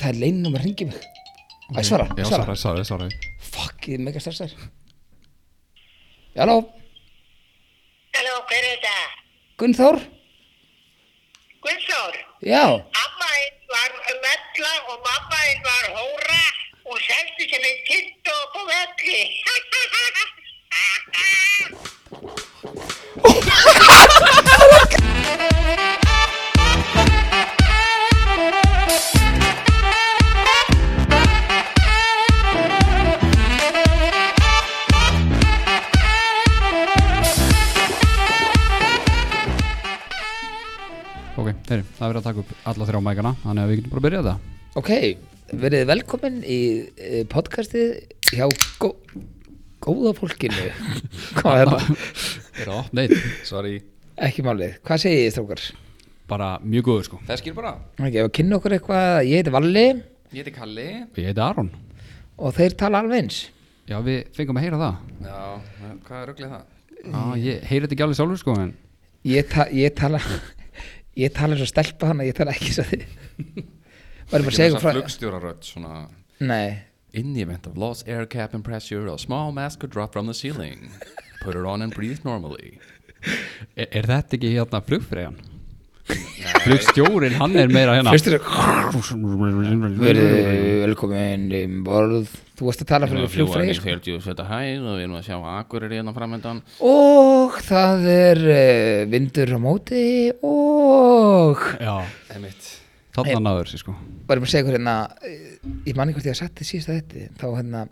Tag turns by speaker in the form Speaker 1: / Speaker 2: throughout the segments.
Speaker 1: það er leinum að ringi mig
Speaker 2: Mm,
Speaker 1: Æ, svara,
Speaker 3: Já,
Speaker 1: svara
Speaker 3: svaraði, svaraði, svaraði
Speaker 1: Fuck, ég er mega stressar Halló,
Speaker 4: Halló, hver er þetta?
Speaker 1: Gunnþór
Speaker 4: Guðþór,
Speaker 1: Já,
Speaker 4: amma einn var mella og mamma einn var hóra og seldi sem einn kitt og på velli.
Speaker 2: Ok, þeirri, það er verið að taka upp alla þrjá mækana Þannig að við getum bara að byrja þetta
Speaker 1: ok Verið velkomin í eh, podcastið hjá gó góða fólkinu Hvað er það?
Speaker 3: Er það?
Speaker 2: Nei,
Speaker 3: Sorry
Speaker 1: Ekki málið, hvað segið þið strókar?
Speaker 2: bara mjög góður sko
Speaker 3: Feskir bara
Speaker 1: Ekki, ef að kynna okkur eitthvað, ég heiti Valli
Speaker 3: Ég heiti Kalli
Speaker 2: Ég heiti Aron
Speaker 1: og þeir tala alveg eins
Speaker 2: Já, við fengum að heyra það
Speaker 3: Já, hvað er rugglið það?
Speaker 2: Já, ég heyri þetta ekki alveg sjálfur sko en
Speaker 1: Ég, ta ég tala ég tala eins og stelpa hana, ég tala ekki eins og þið Varum bara að segja ykkur frá
Speaker 3: Flugstjórarödd, svona
Speaker 1: Nei,
Speaker 3: In the event of lost air cabin pressure, a small mask could drop from the ceiling. Put it on and breathe normally.
Speaker 2: Er, er þetta ekki hérna flugfreyjan? Flugstjórin, hann er meira hérna
Speaker 1: Hlustur Verðu velkomin um borð Þú varst að tala fyrir flugfræði sko.
Speaker 3: Fjöldjú sveta hæð og við erum að sjá akkurir hérna framöndan.
Speaker 1: Og það er uh, vindur á móti Og
Speaker 2: Já,
Speaker 3: Emitt.
Speaker 2: þarna náður sér sko
Speaker 1: Varum að segja ykkur hérna eh, Ég man ekki hvort ég að satt þið síðast að þetta Þá hérna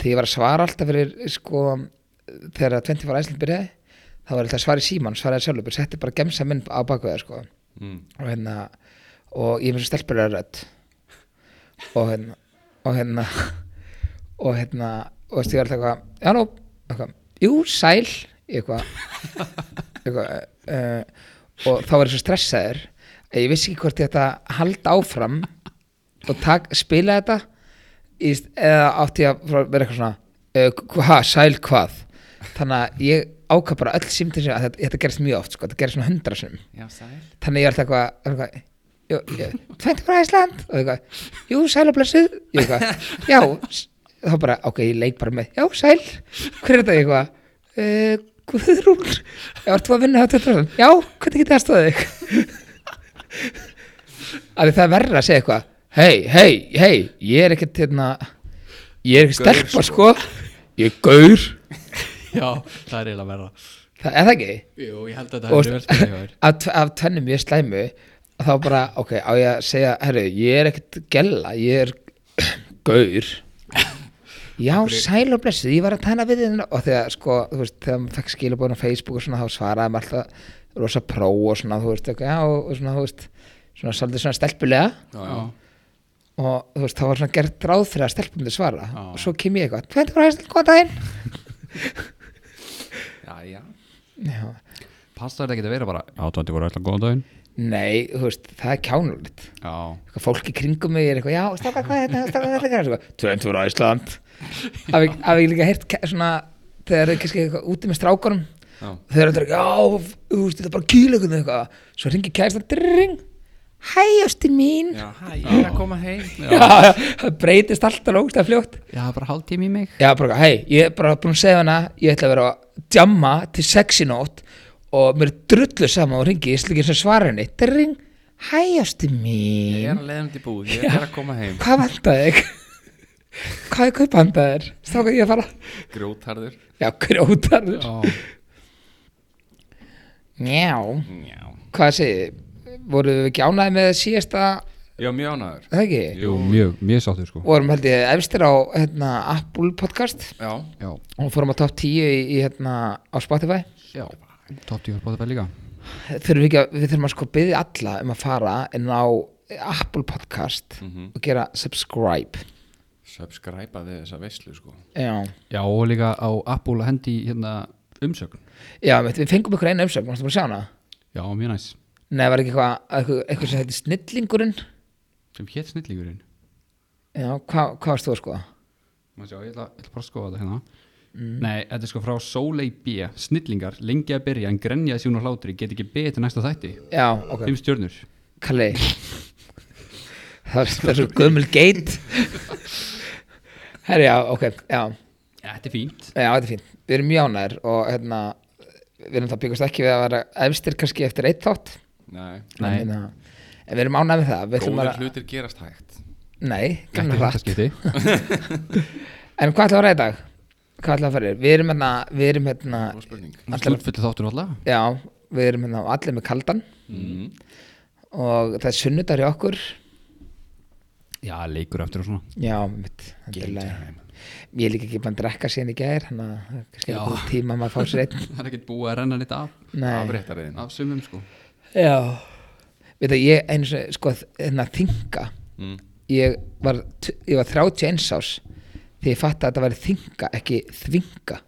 Speaker 1: Þegar ég var að svara alltaf fyrir sko Þegar að 20 var æsland byrjaði þá var alltaf að svara í síman Svaraði sjálfur Bara Setti bara gemsa minn á baku það sko
Speaker 3: Mm.
Speaker 1: Og hérna Og ég er mér svo stelpurlega rödd og hérna og hérna og hérna og veist ég var alltaf eitthvað já nú, eitthvað, jú sæl eitthvað, eitthvað uh, og þá var ég svo stressaður að ég vissi ekki hvort ég ætti að halda áfram og tak, spila þetta í, st- eða átti ég að fara að vera eitthvað svona uh, hva, sæl hvað þannig að ég ákvað bara öll símtins að þetta, þetta gerist mjög oft sko, þetta gerist svona hundra sinum
Speaker 3: Já, sæl.
Speaker 1: þannig ég er alltaf eitthvað- eitthvað jú, jú, tventu frá Ísland og eitthvað, jú, sæl og blessuð ég eitthvað, já, s- þá bara ok, ég leik bara með, já, sæl hver er þetta Ég eitthvað uh, Guðrún, já, ertu að vinna hjá 20%? já, hvernig getið það stóðið þig að því það er verra að segja eitthvað hei, hei, hei, ég er ekkert hérna, ég er ekki
Speaker 3: Gaur,
Speaker 1: stelpa sko. ég er gaur
Speaker 2: Já, það er eiginlega verða
Speaker 1: það er það ekki
Speaker 2: Jú, ég held að
Speaker 1: Og- af, tve- af tennum mjög slæmu þá bara, ok, á ég að segja herru, ég er ekkert gella, ég er gaur já, sæl og blessuð, ég var að tæna við þinn og þegar, sko, þú veist, þegar maður fekk skilabóðin á Facebook og svona, þá svaraði maður alltaf rosa pró og svona, þú veist, ok, já, og, og svona, þú veist, svona, svolítið svona stelpulega
Speaker 3: Já, já.
Speaker 1: og þú veist, þá var svona gert ráð fyrir að stelpum þið svara
Speaker 2: Já.
Speaker 1: og svo kem ég eitthvað, hvernig var hægt góðan daginn?
Speaker 3: Já, já.
Speaker 1: Já,
Speaker 2: Passar þetta ekki að vera bara Já, tóndi voru alltaf góðan daginn
Speaker 1: nei, þú veist, það er kjánulegt
Speaker 2: Já,
Speaker 1: eitthvað fólk í kringum mig er eitthvað, já, strákar, hvað er þetta, strákar, hvað er þetta, tventur á Ísland. Hafið hafið líka heyrt ke- svona, þegar þeir kannski eitthvað úti með strákunum,
Speaker 3: Já.
Speaker 1: þeir eru alltaf, já, þú veist, þetta er bara kýla eitthvað, eitthvað, svo ringir kæristan, drring, hæ, ástin mín, já,
Speaker 3: Já, hæ, ég er að koma heim.
Speaker 1: það breytist alltaf lókst að fljótt.
Speaker 2: já bara hálftími í mig
Speaker 1: Já, bara, eitthvað, hei, ég er bara búin að segja hana, ég ætla að vera að djamma til sex í nótt og mér er drullu saman og ringi, ég slikir sem svara henni, drring, hæ, ástin mín.
Speaker 3: Ég er að leiðum til búið, ég er að koma heim.
Speaker 1: hvað vantaði þig? hvað er kaup vantaði þér? Stáka ég að fara
Speaker 3: Grótharður.
Speaker 1: Já, grjótarður
Speaker 2: Já,
Speaker 1: Já,
Speaker 3: Já.
Speaker 1: hvað segið þið? Voruð við ekki ánæði með síðasta
Speaker 3: Já, mjög ánæður.
Speaker 1: það ekki?
Speaker 2: jú, mjög, mjög sáttur sko
Speaker 1: Vorum held ég efstir á hérna, Apple podcast
Speaker 3: Já.
Speaker 2: Já,
Speaker 1: og fórum á top 10 í, í hérna, á Spotify
Speaker 2: já Top 10 bóðið líka
Speaker 1: þurfum við, ekki að, við þurfum að sko byggja alla um að fara inn á Apple podcast
Speaker 3: Mhm.
Speaker 1: og gera subscribe
Speaker 3: Subscribeaði þessa veislu, sko.
Speaker 1: Já,
Speaker 2: Já, og líka á Apple að hendi hérna umsögn
Speaker 1: Já einmitt, við fengum ykkur einu umsögn, varstu búin að sjá hana?
Speaker 2: Já, mjög næs
Speaker 1: Nei, var ekki eitthvað, eitthvað, eitthvað sem heiti snillingurinn
Speaker 2: sem hétt snillíkurinn
Speaker 1: Já, hvað, hvað varst þú að skoða?
Speaker 2: Má sjá, ég ætla, ég ætla bara að skoða þetta hérna
Speaker 1: Mm.
Speaker 2: Nei, þetta er sko frá Soleil B Snillingar, lengi að byrja en grenjaði síðan á hlátri get ekki betur næsta þætti
Speaker 1: Já, ok,
Speaker 2: Fimm stjörnur
Speaker 1: Kalli það er það er svo gömul geit herri já, ok já,
Speaker 2: Þetta er fínt
Speaker 1: já, þetta er fínt, við erum mjög ánæður og hérna, við erum það byggast ekki við að vera efstir kannski eftir eitt þátt
Speaker 3: Nei,
Speaker 1: en,
Speaker 2: Nei.
Speaker 1: hérna, en við erum ánæður með það við ætlum
Speaker 3: góðir
Speaker 1: að-
Speaker 3: hlutir gerast hægt
Speaker 1: nei,
Speaker 2: Ekki
Speaker 1: gamla
Speaker 2: í
Speaker 1: hratt
Speaker 2: þetta skipti
Speaker 1: en hvað ætlum við að ræða í dag? hvað ætlum við að fara yfir? við erum hérna, við erum hérna
Speaker 3: Góð spurning
Speaker 2: Stúlfullu þáttur alltaf
Speaker 1: já, við erum hérna allir með kaldan
Speaker 3: mm.
Speaker 1: og það er sunnudar í okkur
Speaker 2: Já, leikur eftir og svona
Speaker 1: já, mitt þetta er lag. ég er líka ekki búin að drekka síðan í gær þannig að það er kannski
Speaker 2: Já.
Speaker 1: ekki tíma að maður fá sér einn
Speaker 2: Það er ekkert búið að renna nýtt af
Speaker 1: Nei.
Speaker 3: Afréttariðin
Speaker 2: Af sumum sko
Speaker 1: já veit að ég eins og sko hérna þinga
Speaker 3: mm.
Speaker 1: ég var, t- ég var 31 árs því ég fatt að þetta væri þinga ekki þvinga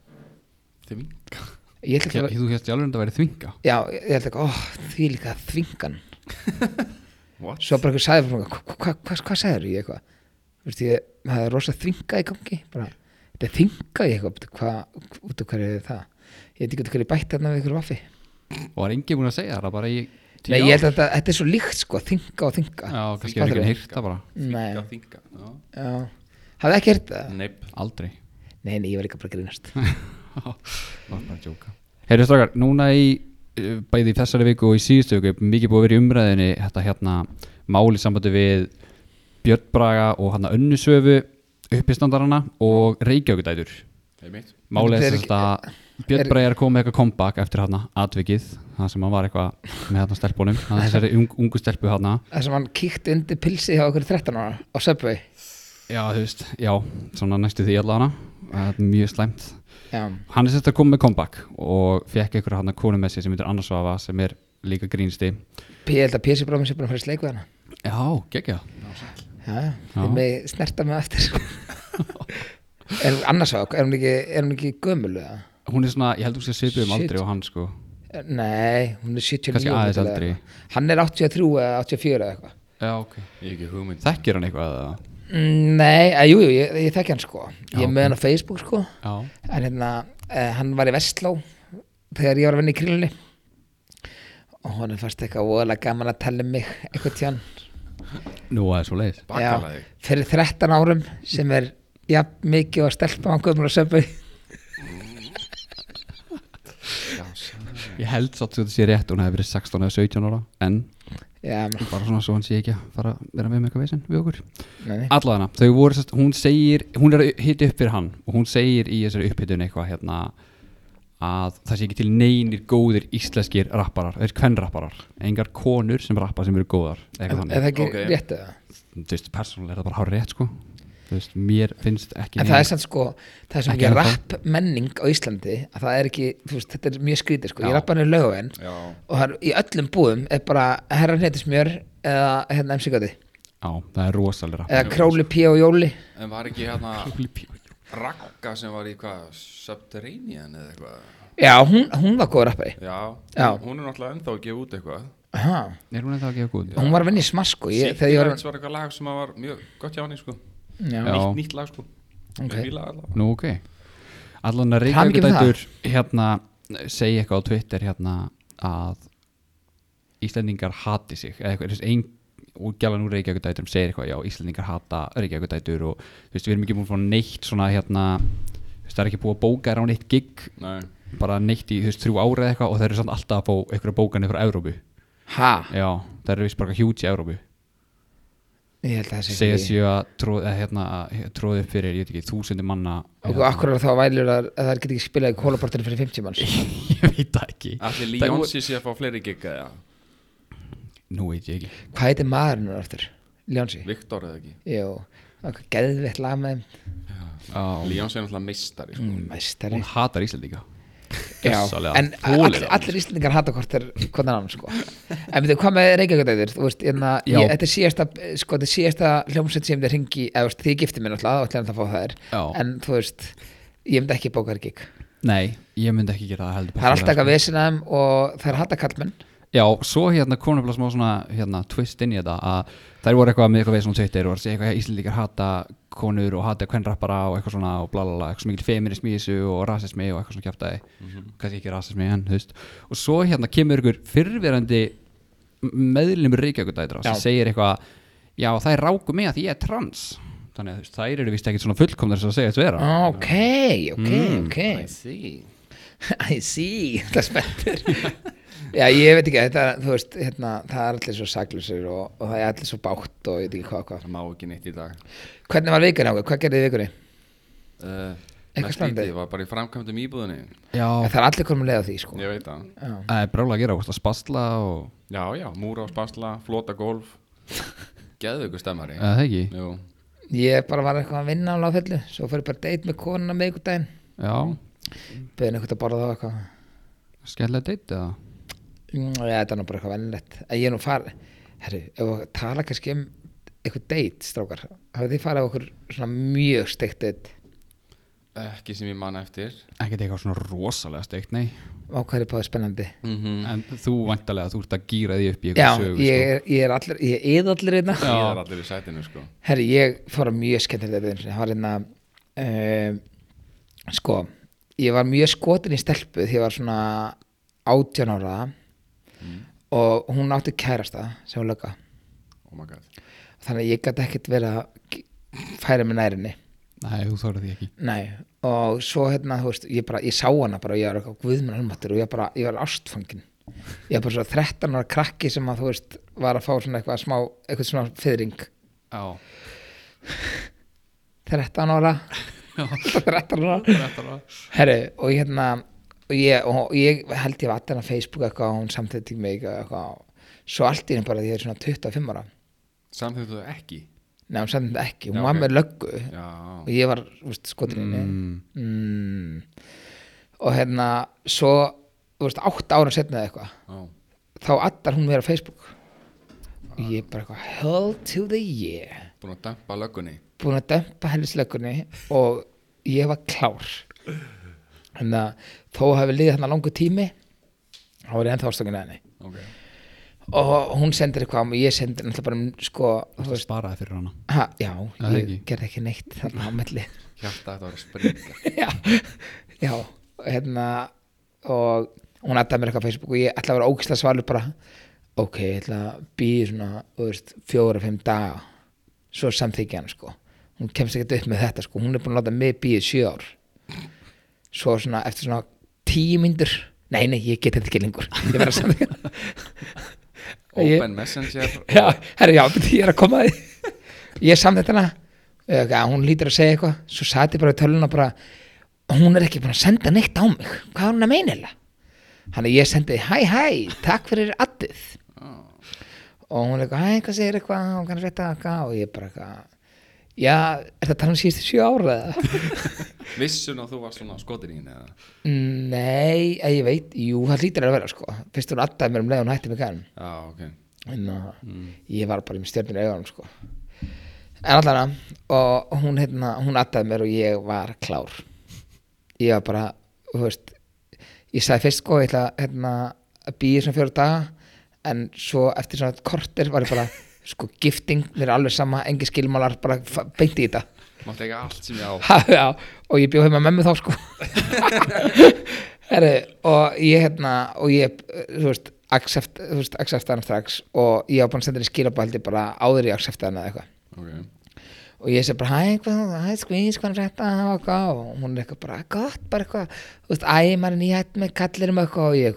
Speaker 3: Þvinga
Speaker 1: ég held ekki
Speaker 2: Já,
Speaker 1: að
Speaker 2: Þú hérst jálfur en það væri þvinga
Speaker 1: já, ég held ekki, ó, því líka þvingan
Speaker 3: What?
Speaker 1: svo bara eitthvað sagði frá mér, hva- hva- hvað hva sagður ég eitthvað þú veist ég, það er rosa þvinga í gangi bara, þetta er þvinga í eitthvað "Bíddu, hvað, út af hverju er það ég veit ekki út af hverju ég bætti þarna við ykkur vaffi
Speaker 2: Og var engin búin að segja það bara í tíu
Speaker 1: Nei, ég
Speaker 2: ár.
Speaker 1: held að þetta, þetta er svo líkt sko, þinga og þinga
Speaker 2: Já, kannski
Speaker 1: Fattar
Speaker 2: hefur ekki
Speaker 1: við?
Speaker 2: heyrt það bara
Speaker 1: Nei,
Speaker 3: Þvinga, þvinga Já.
Speaker 1: já Hafði ekki heyrt
Speaker 2: Mm.
Speaker 1: það?
Speaker 3: Neip
Speaker 2: Aldrei
Speaker 1: Nei, nei, ég var líka bara að grínast
Speaker 2: Það var bara að jóka Herri strákar, núna í uh, bæði í þessari viku og í síðustu viku er mikið búið að vera í umræðinni þetta hérna máli sambandi við Björn Braga og hérna önnusöfu uppistandarana og Reykjavíkudætur
Speaker 3: Einmitt
Speaker 2: Málið
Speaker 1: Þetta
Speaker 2: er
Speaker 1: er
Speaker 2: þess að Björn
Speaker 1: er-
Speaker 2: Braga er komið með eitthvað comeback eftir hérna atvikið það sem hann var eitthvað með hérna stelpunum hann þessari ung, ungu stelpu hérna
Speaker 1: Það sem hann kíkti undir pilsi hjá okkur 13 ára á Subway
Speaker 2: Já, þú veist, já, svona næstu því allavega það er mjög slæmt
Speaker 1: Já,
Speaker 2: hann er sérst að koma með comeback og fekk einhverja hann að konu með sér sem heitir Anna Svafa sem er líka grínsti
Speaker 1: P- ég held að Pési bróðum sér búin að fara í sleik við hana
Speaker 2: Já, geggja
Speaker 1: Já, já,
Speaker 2: Já.
Speaker 1: þið með snerta mig eftir sko. Er hún annars á, er hún ekki, er hún ekki gömul eða?
Speaker 2: Hún er svona, ég held að hún sé svipið um
Speaker 1: Shit.
Speaker 2: aldrei og hann sko
Speaker 1: Nei, hún er 79
Speaker 2: Kannski aðeins
Speaker 1: líklega.
Speaker 2: eldri.
Speaker 1: Hann er 83 eða 84 eða eitthvað
Speaker 2: Já, ok
Speaker 3: Ég hef ekki hugmynd
Speaker 2: Þekkir hann eitthvað eða?
Speaker 1: Mm, Nei, að, jú, jú, ég, ég þekki hann sko Ég
Speaker 2: Já,
Speaker 1: er með hann á Facebook sko
Speaker 2: Já
Speaker 1: en hérna, eh, hann var í Vestló þegar ég var að vinna í krílunni og honum fannst eitthvað voðalega gaman að tala um mig eitthvað tíðan
Speaker 2: Nú, það er svo leiðis
Speaker 3: Bakalaði
Speaker 1: fyrir 13 árum sem er jafn mikið og stelpa hann gömur og söpau
Speaker 3: Já, sann
Speaker 2: Ég held satt svo að þetta sé rétt, hún hefði verið 16 eða 17 ára En
Speaker 1: já, nei,
Speaker 2: bara svona svo hann sé ekki að fara að vera með með eitthvað veginn við okkur
Speaker 1: nei.
Speaker 2: Allavega, þau voru, sérst, hún segir, hún er að hitta upp fyrir hann og hún segir í þessari upphitun eitthvað hérna að það sé ekki til neynir góðir íslenskir rapparar, þeir kvennrapparar, engar konur sem rappar sem eru góðar, eitthvað
Speaker 1: er
Speaker 2: þannig.
Speaker 1: það ekki
Speaker 3: Ok.
Speaker 1: rétt eða?
Speaker 2: Þú veist, persónulega er það bara hár rétt sko, þú veist, mér finnst ekki
Speaker 1: en það er samt sko, það er svo
Speaker 2: Ekki
Speaker 1: mikið
Speaker 2: ennþá.
Speaker 1: rapp menning á Íslandi að það er ekki, þú veist, þetta er mjög skrítið sko, ég
Speaker 2: Já.
Speaker 1: rappa hann í lögavinn
Speaker 3: Já
Speaker 1: og það er, í öllum búðum er bara herra hnetismjör eða hérna emsíkati
Speaker 2: Já, það er rosalega rappar.
Speaker 1: eða króli, pí og jóli
Speaker 3: En var ekki hérna Rakka sem var í hvað Subterranean eða eitthvað
Speaker 1: já, hún, hún var góð rappari
Speaker 3: Já,
Speaker 1: Já.
Speaker 3: Hún er náttúrulega ennþá að gefa út eitthvað
Speaker 1: Aha.
Speaker 2: Er hún eða ekki að góð?
Speaker 1: hún var að vinna í smass sko ég, þegar ég var
Speaker 3: Sýttirhætt var eitthvað lag sem var mjög gott hjá henni sko
Speaker 1: já,
Speaker 2: Já.
Speaker 3: Nýtt, nýtt lag sko
Speaker 1: Ok.
Speaker 3: Ég fíla allavega
Speaker 2: Nú, ok. Allan að
Speaker 1: Hamingju með um það.
Speaker 2: Reykjavíkudætur hérna segi eitthvað á Twitter hérna að Íslendingar hati sig eða eitthvað, þú veist, ein og gælan úr Reykjavíkudæturum segir eitthvað, já, Íslendingar hata Reykjavíkudætur og þú veist, við erum ekki búin að fá neitt svona hérna, þú veist, það er ekki búið að bóka þér á neitt gig,
Speaker 3: Nei,
Speaker 2: bara neitt í, þú veist, þrjú ára eða eitthvað og það eru samt alltaf að fá eitthvað bókanir frá Evrópu,
Speaker 1: ha,
Speaker 2: já, það eru vist bara eitthvað hjúts í Evrópu
Speaker 1: ég held að það sé
Speaker 2: segja
Speaker 1: ekki
Speaker 2: sér að tróð, eða, hérna, að tróð upp fyrir, ég veit ekki, þúsundir manna
Speaker 1: og akkur er þá vælur að, að það getur ekki spilað í kólaportinu fyrir 50 manns
Speaker 2: ég veit það ekki
Speaker 3: allir
Speaker 2: Það er-
Speaker 3: Líonsi sé að fá fleiri gigga eða
Speaker 2: Nú veit ég ekki
Speaker 1: hvað heitir maðurinn hennar aftur? Ljónsi?
Speaker 3: Viktor eða ekki
Speaker 1: Jú, okkur geðveitt lag með þeim.
Speaker 3: Líonsi er náttúrulega meistari sko.
Speaker 1: Mm, meistari
Speaker 2: Hún hatar Íslandíka
Speaker 1: Já, en all, allir íslendingar hata hvort er hvort er hann sko en veitum, hvað með reykjagöldæður þú veist, hérna, ég,
Speaker 2: Já.
Speaker 1: þetta er síðasta sko, þetta er síðasta hljómsveit sem þeir hringi eða þú veist, þið gifti mér náttúrulega, þá ætlaði hann að fá þær
Speaker 2: Já.
Speaker 1: en þú veist, ég myndi ekki bóka þær gig
Speaker 2: Nei, ég myndi ekki gera það heldur
Speaker 1: það er alltaf
Speaker 2: persónulega,
Speaker 1: eitthvað vesinaðum og það er hata kallmenn
Speaker 2: sko. Já, svo hérna konum bara smá svona hérna, twist inn í þetta að þær voru eitthvað með eitthvað veist svona Twitter og var að segja eitthvað Íslandíkar hata konur og hata kvenrappara og eitthvað svona og bla bla bla, eitthvað svo mikil feminism í þessu og rasismi og eitthvað svona kjæftæði kannski ekki rasismi en þú veist og svo hérna kemur ykkur fyrrverandi meðlum reykjagudætra
Speaker 1: Já.
Speaker 2: sem segir eitthvað já það er ráku mig að því ég er trans þannig að þú veist, þær eru vist ekkert svona fullkomnar sem að segja þetta vera
Speaker 1: ok, Ah, ok,
Speaker 2: Mm,
Speaker 1: ok
Speaker 3: I see
Speaker 1: I see, það er spenntur Já, ég veit ekki, þetta, er, þú veist, hérna, það er allir svo saklusir og, og það er allir svo bátt og ég veit ekki hvað, hvað.
Speaker 3: Það má ekki neitt í dag
Speaker 1: Hvernig var vikunni ákveð? Hvað gerðið vikunni?
Speaker 3: uh,
Speaker 1: Eitthvað
Speaker 3: mest
Speaker 1: spennandi.
Speaker 3: lítið, Ég var bara í framkvæmdum íbúðinni
Speaker 2: já,
Speaker 1: Það er allir komið leið á því, sko.
Speaker 3: Ég veit það
Speaker 2: það er brála að gera ósla spastla og
Speaker 3: Já, já, múra á spasla, flota golf Geðu ykkur stemmari
Speaker 2: eða það ekki
Speaker 3: Jú,
Speaker 1: Ég bara var eitthvað að vinna á láfellu, svo fyrir bara deit með konuna með ykkur daginn,
Speaker 2: já,
Speaker 1: beðin eitthvað að borða þá eitthvað.
Speaker 2: skemmlega deitt eða
Speaker 1: Mm, Já, þetta er nú bara eitthvað vennilegt. Ég er nú farið, herru, ef við tala kannski um eitthvað deit, strákar, hafið þið farið á okkur svona mjög steikt deit?
Speaker 3: ekki sem ég man eftir
Speaker 2: ekkert eitthvað svona rosalega steikt, nei
Speaker 1: Ákvæðið báðið spennandi.
Speaker 3: mm
Speaker 2: en þú vantarlega, þú ert að gýra því upp í
Speaker 1: Já,
Speaker 2: eitthvað sögu
Speaker 1: ég
Speaker 2: sko.
Speaker 1: er, ég er allir, ég hérna. er allir einna.
Speaker 3: Það er allir í sætinu sko
Speaker 1: Herri, ég fór að mjög skemmtilegt þetta einu sinni. það var hérna um, sko, ég var mjög skotin í stelpu því ég var svona 18 ára og hún átti kærasta sem hún lögga
Speaker 3: Oh my god
Speaker 1: þannig að ég gæti ekkert verið að færa mig nærinni
Speaker 2: nei, þú þorðið því ekki
Speaker 1: Nei, og svo hérna, þú veist, ég bara, ég sá hana bara og ég var eitthvað guðmenn almatur og ég bara, ég var ástfangin ég var bara svo 13 ára krakki sem að, þú veist, var að fá svona eitthvað smá, eitthvað smá fyrring
Speaker 2: já,
Speaker 1: 13 ára 13 ára
Speaker 2: þetta var
Speaker 1: Herru, og ég hérna og ég, og ég held ég var alltaf á Facebook eitthvað og hún samþýtti mig eitthvað svo allt í henni bara því ég er svona 25 ára
Speaker 3: Samþýttu þú ekki?
Speaker 1: Nei, hún samþýtti ekki, hún
Speaker 3: Já,
Speaker 1: var
Speaker 3: ok.
Speaker 1: með löggu
Speaker 3: Já
Speaker 1: og ég var, þú veist, skotin henni mm. og hérna svo, þú veist, 8 ára setna eða eitthvað,
Speaker 3: Ó.
Speaker 1: þá allar hún mér á Facebook og ég bara eitthvað hell to the yeah
Speaker 3: Búin að dampa löggunni
Speaker 1: búin að dömpa helvislöggunni og ég var klár þannig að þó hafi liðið þarna langu tími þá var ég ennþá ástöngin að henni
Speaker 3: Ok
Speaker 1: og hún sendir eitthvað á mig, ég sendir náttúrulega bara um, sko, þú
Speaker 2: það
Speaker 1: veist,
Speaker 2: sparaði fyrir hana
Speaker 1: ha, já,
Speaker 2: Já,
Speaker 1: ég
Speaker 2: ekki.
Speaker 1: gerði ekki neitt þarna á melli
Speaker 3: Hjarta þetta var að springa
Speaker 1: já, já, hérna og hún addaði mér eitthvað á Facebook og ég ætla að vera ógislega svalur bara ok, ég ætla að býði svona þú veist, fjóra-fimm daga svo samþykja hann sko hún kemst ekkert upp með þetta sko, hún er búin að láta mig býði sjö ár svo svona eftir svona tíu myndur nei, nei, ég get þetta ekki lengur ég verð að samþykja Ég-
Speaker 3: Open messenger
Speaker 1: já, herri, já, beti, ég er að koma að því ég samþýtt hana eh, ok, hún lítur að segja eitthvað svo sat ég bara í töluna bara hún er ekki búin að senda neitt á mig hvað er hún að meina eiginlega hann að ég sendi, hæ, hæ, takk fyrir addið og hún er eitthvað, hæ, hvað segir eitthvað og hann rétt að eitthvað og ég bara eitthvað já, er það tala um síðustu sjö ára eða
Speaker 3: Vissun að þú varst svona skotin í henni eða
Speaker 1: nei, eh, ég veit, jú, það lítur að vera sko, fyrst hún addaði mér um leið og hún hætti mig gæðum
Speaker 3: Já, ok
Speaker 1: en mm. ég var bara með stjörnir í augunum sko. en allan að- og hún, hérna, hún attaði mér og ég var klár ég var bara þú veist, ég sagði fyrst sko ég ætla hérna, að býja svona fjóra daga en svo eftir svona kortir var ég bara sko gifting, mér er alveg sama engi skilmálar, bara fa- beint í þetta
Speaker 3: Mátti ekki allt sem ég á
Speaker 1: Ha, já, og ég bjóð heima með mig þá sko Heri, og ég hérna og ég, þú veist, accept, þú veist accept hann strax og ég var búin að senda henni skilabældi bara áður í accept hann eða eitthvað
Speaker 3: Ok
Speaker 1: og ég segi bara, hæ, hvað, hæ, skvís, hvað er þetta og eitthvað, og hún er eitthvað bara, gott, bara eitthvað, þú veist, æ, maður er nýhætt með kallir um eitthvað, og ég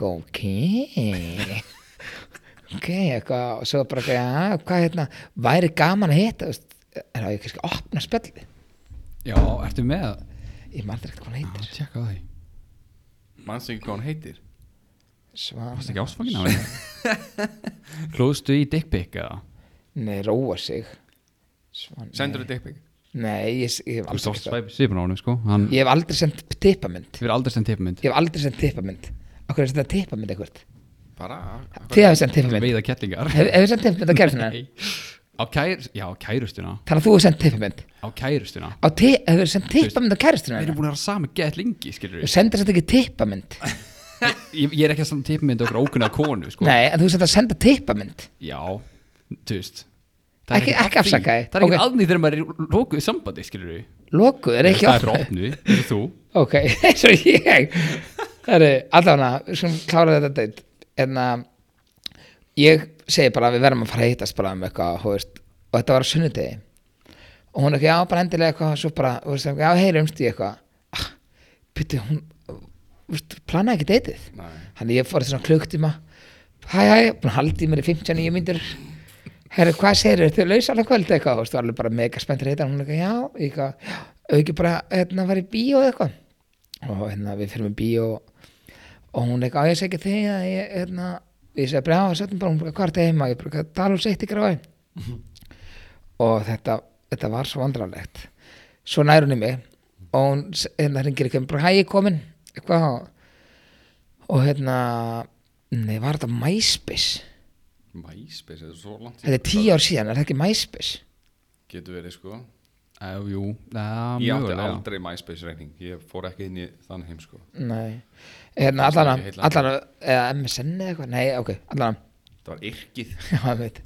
Speaker 1: eitthvað, ok, ok, eitthvað, og svo bara, eitthvað, já, hvað hérna, væri gaman að hitta, þú veist, er það ekki að opna spjallið,
Speaker 2: já, ertu með það?
Speaker 1: ég man aldrei eitthvað hvað hann heitir.
Speaker 2: tjekka á því
Speaker 3: Manns ekki hvað hún heitir
Speaker 1: Svana
Speaker 2: Varst ekki ástfangin af henni? Klóðstu í dickpic eða?
Speaker 1: Nei, róa sig Svana
Speaker 3: Sendur þú dickpic?
Speaker 1: Nei, ég, ég, hef
Speaker 2: Þú
Speaker 1: aldrei
Speaker 2: stóðst
Speaker 1: gert það.
Speaker 2: svæpi svipin á honum sko Hann
Speaker 1: ég hef aldrei sendt tippamynd
Speaker 2: fyrir aldrei sem tippmynd
Speaker 1: Ég hef aldrei sendt tippamynd Akkur er þetta tippamynd eitthvað
Speaker 3: Bara af-
Speaker 1: Þið hafið sendt tippamynd
Speaker 2: Veiða kettlingar
Speaker 1: Hef- Hefur sendt tippamynd á kærtuna
Speaker 2: Nei. Á kær, já, á kærustuna
Speaker 1: Þannig að þú hefur sendt tippamynd
Speaker 2: Á kærustuna
Speaker 1: Á ti- Hefur sendt tippamynd á
Speaker 2: Við erum Sko.
Speaker 1: kærtuna
Speaker 2: búin að vera saman gett lengi,
Speaker 1: Þú
Speaker 2: skilur við
Speaker 1: sendir þetta ekki tippamynd
Speaker 2: ég, ég er ekki að saman tippmynd okkur ókunna konu sko
Speaker 1: Nei, en þú sendir að senda tippamynd
Speaker 2: Já, þú veist Það er
Speaker 1: Ekki,
Speaker 2: ekkert
Speaker 1: ekki
Speaker 2: að því.
Speaker 1: afsaka
Speaker 2: Það er
Speaker 1: þið
Speaker 2: ekki okay. aðnýð þegar maður er lókuð í sambandi, skilur við
Speaker 1: Loku, er ekki
Speaker 2: Það er
Speaker 1: opnað.
Speaker 2: fyrir opnu, eins og þú
Speaker 1: Ok, eins og ég Herru, allavega, við skulum klára þetta Hérna, deitt En að ég segi bara að við verðum að fara að hittast bara um eitthvað þú veist, og þetta var á sunnudegi og hún ekki, já, bara endilega eitthvað og svo bara, þú veist, já, heyrumst í eitthvað ah, byrju, hún þú veist, planaði ekki deytið
Speaker 3: Nei.
Speaker 1: þannig ég fór í svona klukkutíma hæ, hæ, búin að haldi mér í 59 myndir herru, hvað segir þau laus alveg kvöld eitthvað, þú veist, var alveg bara mega spenntur heita, hún ekki, já, ég eitthvað "Já, ef ekki bara, hérna, var í bíó eða eitthvað og hérna, við fyrir með bíó og hún eitthvað, á ég segi þig að ég, hérna, ég segi bara, já, sattum bara, hún bara, hvað er þetta heima, ég bara, tala um og seitt ykkur á það og þetta, þetta var svo vandrarlegt svo nær hún í mig og hún s- hérna hringir ekki bara hæ ég er komin eitthvað og- og hérna nei var þetta MySpace
Speaker 3: MySpace, þetta er svo langt
Speaker 1: þetta er tíu ár síðan er þetta ekki MySpace
Speaker 3: Getur verið sko
Speaker 2: Uh, jú, uh,
Speaker 3: Ég átti
Speaker 2: mjögulega
Speaker 3: aldrei MySpace reyning Ég fór ekki inn í þann heim sko
Speaker 1: nei hérna
Speaker 3: Það er
Speaker 1: allan
Speaker 3: ekki heillandi.
Speaker 1: allan eða MSN eða eitthvað nei ok allan
Speaker 3: Það var yrkið
Speaker 1: já ég veit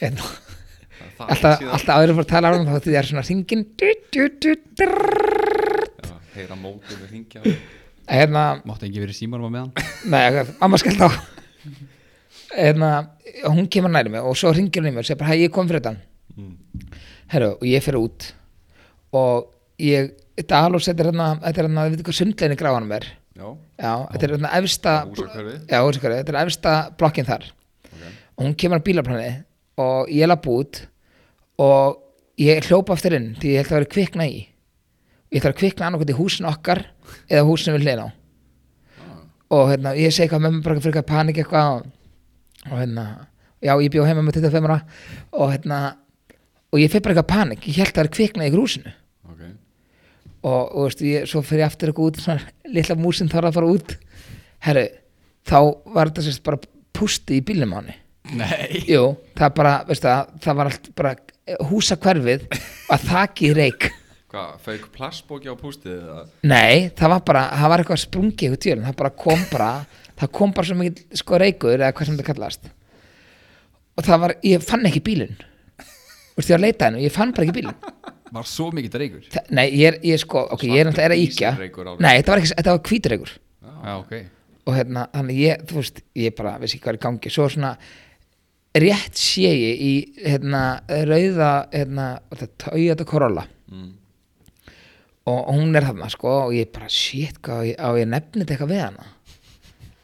Speaker 1: hérna
Speaker 3: Það er það
Speaker 1: alltaf
Speaker 3: síðan.
Speaker 1: alltaf aðrir fór að tala um þá þetta er svona hringin du, du, du, drrrr.
Speaker 3: Já, heyra mótið með hringja
Speaker 1: hérna
Speaker 2: Máttu ekki verið símanum á meðan
Speaker 1: Nei, ok, mamma skellt á Hérna, hún kemur næri mig og svo ringir hún í mig og segir bara, hæ, ég kom fyrir þetta Mm. Herru, og ég fyrir út og ég, þetta alveg þetta er hérna, þetta er hérna, við veitum hvað sundleginni gráðanum er
Speaker 3: Já,
Speaker 1: Já, þetta er hérna efsta
Speaker 3: Húsakverfið?
Speaker 1: Já, húsakverfið, þetta er efsta blokkin þar og hún kemur á bílaplani og ég lapp út og ég hljópa aftur inn því ég held að vera kvikna í ég ætla að kvikna annað hvort í húsin okkar eða húsin við hliðin á og hérna, ég segi eitthvað með mér bara fyrir eitthvað panik eitthvað og, og hérna, já, ég bjó heima með 25 ára og hérna og ég fyrir bara eitthvað panik, ég held að vera kvikna í grúsinu
Speaker 3: ok
Speaker 1: og, og veist, ég, svo fyrir ég aftur eitthvað út svona, litla músin þarf að fara út herru, þá var þetta sérst bara pústi í bílnum á henni
Speaker 2: Nei
Speaker 1: jú, það bara, veist það það var allt bara eh, húsa hverfið að þaki í reik
Speaker 3: Hvað, feik plastbóki á pústið eða?
Speaker 1: nei, það var bara, það var eitthvað sprungið út í ölinn, það bara kom bara það kom bara svo mikið sko reikur eða hvað sem þetta kallast og það var, ég fann ekki bílinn veist, ég var að leita hennu, ég fann bara ekki bílinn
Speaker 2: Var svo mikið dreigur
Speaker 1: Þa- nei, ég er, ég er sko, ok, ég er náttúrulega er að íkja
Speaker 3: Ísreykur alveg.
Speaker 1: nei, þetta var ekki, þetta var hvíturreikur
Speaker 2: Já, ok
Speaker 1: og hérna, þannig ég, þú veist, ég bara veist ekki hvað er í gangi, svo svona rétt sé ég í hérna, rauða, hérna Toyota Corolla
Speaker 3: Mm.
Speaker 1: og og hún er þarna, sko og ég bara, shit, hvað á ég, á ég nefnir þetta eitthvað við hana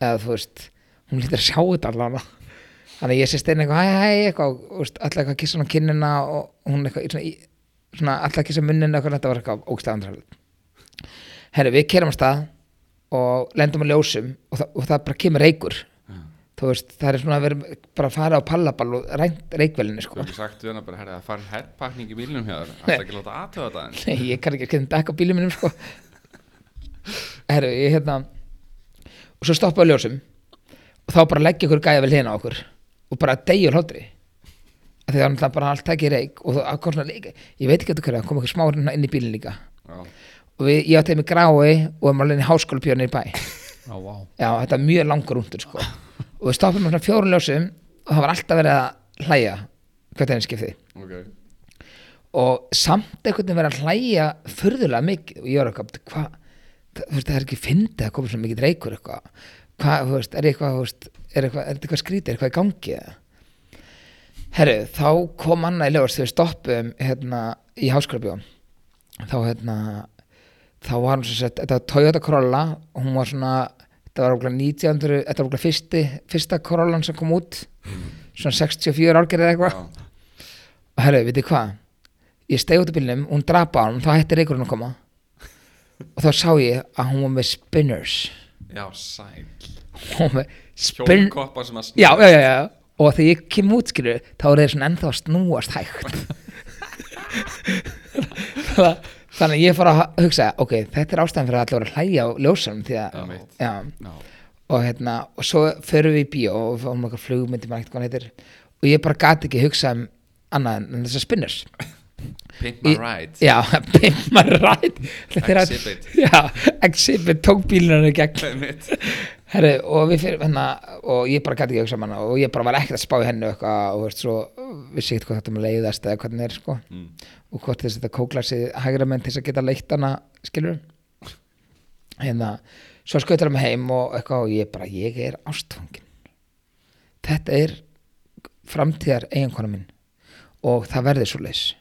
Speaker 1: eða þú veist, hún lítur að sjá þetta allan þannig ég sé stein eitthvað, hæ, hæ, eitthvað og, og alltaf eitthvað að kissa hann á kinnina og hún eitthvað, svona, í- svona alltaf að kissa munnina eitthvað, þetta var eitthvað ógstæðan herru, við kerum að stað og lendum að ljósum og, það- og það bara kemur reykur þú veist, það er svona að vera bara að fara á pallaball og rænt reykvelinni
Speaker 3: Þú
Speaker 1: sko.
Speaker 3: hefur ekki sagt við hana bara, herra, það farið herrpakning í bílnum hjá þér Það ekki að láta aðtöða þetta en
Speaker 1: Nei, ég kann ekki að skilja dekka á bílum minnum sko. Herru, ég hérna og svo stoppaði á ljósum og þá bara leggja ykkur gæja vel hérna á okkur og bara deyja úr hlátri Af því það var náttúrulega bara allt ekki reik og það kom svona líka, ég veit ekki að þú hverja það kom eitthvað smá hérna inn í bílinn líka
Speaker 3: Já,
Speaker 1: og við, ég átti mig grái og erum alveg inn í háskóla björnir í bæ
Speaker 2: Já, vá
Speaker 1: Já, þetta er mjög langur undur sko og við stoppum á svona fjórun ljósum og það var alltaf verið að hlæja hvert einu skipti
Speaker 3: ok
Speaker 1: og samt einhvern veginn verið að hlæja furðulega mikið og ég var eitthvað, hvað það, þú veist, það er ekki fyndið að koma svona mikið reykur eitthvað hvað, þú veist, er eitthvað, þú veist er eitthvað, er eitthvað skrítið, er eitthvað í gangi eða? herru, þá kom annað í ljós þegar við stoppum hérna í háskólabjóðum þá hérna þá var hún svo sett, þetta var Toyota Corolla og hún var svona, þetta var okkur 1900, þetta var okkur fyrsti, fyrsta Corollan sem kom út svona 64 árgerið eða eitthvað
Speaker 3: Já,
Speaker 1: og herru, veitir hvað ég steig út af bílnum, hún drapa á hann þá hætti reykurinn að koma og þá sá ég að hún var með spinners
Speaker 3: já sæl
Speaker 1: hún var með spin
Speaker 3: Hjólkoppa sem að
Speaker 1: já, já, já, já og þegar ég kem út skilur þá er þeir svona ennþá að snúast hægt þannig að ég fór að hugsa ok, þetta er ástæðan fyrir að allir voru að hlæja á ljósum því að
Speaker 3: Já, mitt.
Speaker 1: já,
Speaker 2: Já
Speaker 1: og hérna, og svo förum við í bíó og við fáum eitthvað flugmyndi, maður ekkert hvað hann heitir og ég bara gat ekki hugsa um annað en þessar spinners
Speaker 3: Pimp my ride
Speaker 1: Já, Pimp My Ride Þetta er að-
Speaker 3: Exhibit.
Speaker 1: Já, Exhibit tók bílunum í gegn
Speaker 3: Mitt.
Speaker 1: Herri, og við fyrir hérna og ég bara gæti ekki hugsa um hana og ég bara var ekkert að spá í hennu eitthvað og veist svo vissi ekkert hvað þetta maður leiðast eða hvernig er sko
Speaker 3: Mm.
Speaker 1: og hvort þess að þetta kóklar sig hægra menn til þess að geta leitt hana skilur hérna, svo skautar hann mig heim og eitthvað og ég bara, ég er ástfangin þetta er framtíðar eiginkona mín og það verði svo leis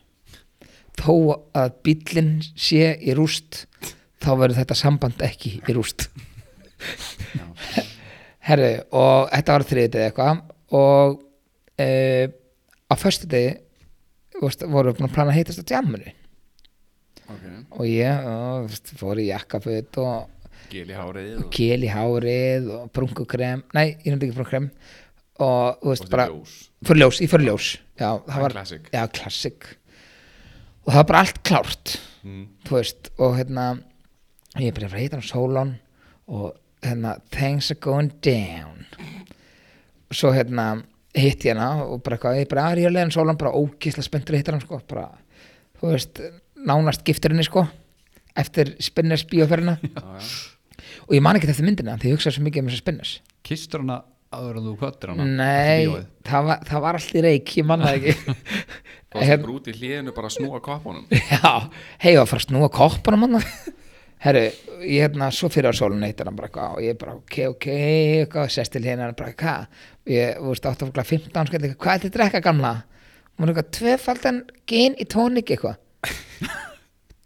Speaker 1: þó að bíllinn sé í rúst þá verður þetta samband ekki í rúst herru og þetta var þriðið eða eitthvað og e, á föstu degi voru við búin að plana að heitast á djamminu
Speaker 3: Ok.
Speaker 1: og ég og, þú veist, fór í jakkaföt og
Speaker 3: Gil í hárið og
Speaker 1: kél í hárið og brunkukrem, nei, ég nefndi ekki brunkukrem og þú veist
Speaker 3: Fórstu í
Speaker 1: bara
Speaker 3: ljós?
Speaker 1: fyrir ljós, í fyrir ljós já, það var,
Speaker 3: classic.
Speaker 1: já, klassik og það var bara allt klárt þú veist, og hérna ég byrja að heita hann Solon og hérna, things are going down og svo hérna hitt ég hana og bara eitthvað, ég bara aðri að leiðan Solon, bara ókísla spenntur að hitta hann sko, bara, þú veist nánast gifturinni sko eftir spinners bíóferðina og ég man ekki eftir myndina því ég hugsaði svo mikið um þess að spinners
Speaker 2: Kistur hana áður en þú kvöttir hana
Speaker 1: Nei,
Speaker 2: Eftir bíóið.
Speaker 1: það var, það var allt í reik, ég manna ekki
Speaker 3: Það var sem brúti í hliðinu bara að snúa koppunum
Speaker 1: Já, hei, ég var að fara að snúa koppanum hann Herru, ég hérna, svo fyrir að sólun eitt hann bara eitthvað og ég bara, ok, ok, eitthvað, sest til hérna bara, hvað, ég, þú veist, 8.15 skall sko, eitthvað, hvað er þetta drekka gamla? Og Hún er eitthvað, tvöfaldan gin í tónik eitthvað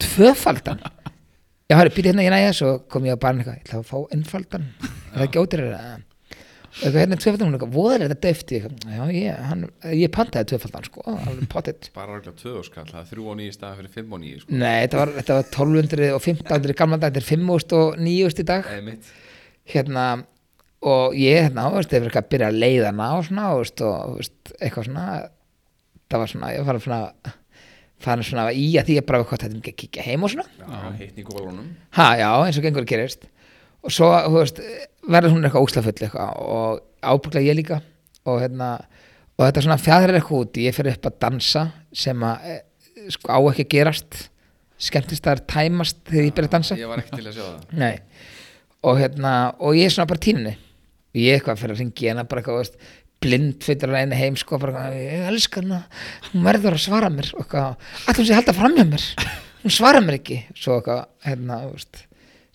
Speaker 1: Tvöfaldan? Já, herru, býti hérna, ég næja, svo kom ég á barn eitthvað, ég ætla að fá einfaldan, er það ekki ódýrar eða? Og eitthvað hérna tvöfaldan, hún er eitthvað, voður þetta döfti, já, ég, hann, ég pantaði tvöfaldan, sko, alveg pottitt.
Speaker 3: Bara örgulega tvöðurskall, það er þrjú og nýju staði fyrir fimm og nýju sko.
Speaker 1: Nei, þetta var, þetta var 1200 og 1500 í gamla dag, þetta er 5000 og 9000 í dag
Speaker 3: Eða mitt
Speaker 1: hérna, og ég hérna, þú veist, hefur eitthvað að byrja að leiða hana og svona, þú veist, og þú veist, eitthvað svona það var svona, ég var svona fann svona í að því að bara hvað þetta er mikið að kíkja heim og svona
Speaker 3: Já, hittn í gólunum
Speaker 1: ha, já, eins og gengur að gerist og svo, þú veist, verður hún eitthvað óslafull eitthvað og ábyggla ég líka og hérna, og þetta svona fjadrar eitthvað út, ég fyrir upp að dansa sem að, eh, sko, á ekki að gerast skemmtist það er tæmast þegar ég byrja að dansa
Speaker 3: Ég var ekki til að sjá það
Speaker 1: Nei. og hérna, og ég er svona bara tínunni og ég eitthvað fyrir að ringi hérna bara eitthvað, þú veist, blind fyrir að einu heim sko, bara eitthvað, ég elska hana hún verður að svara mér og eitthvað, allt hún sé að halda fram hjá mér hún svara mér ekki svo eitthvað, hérna, þú veist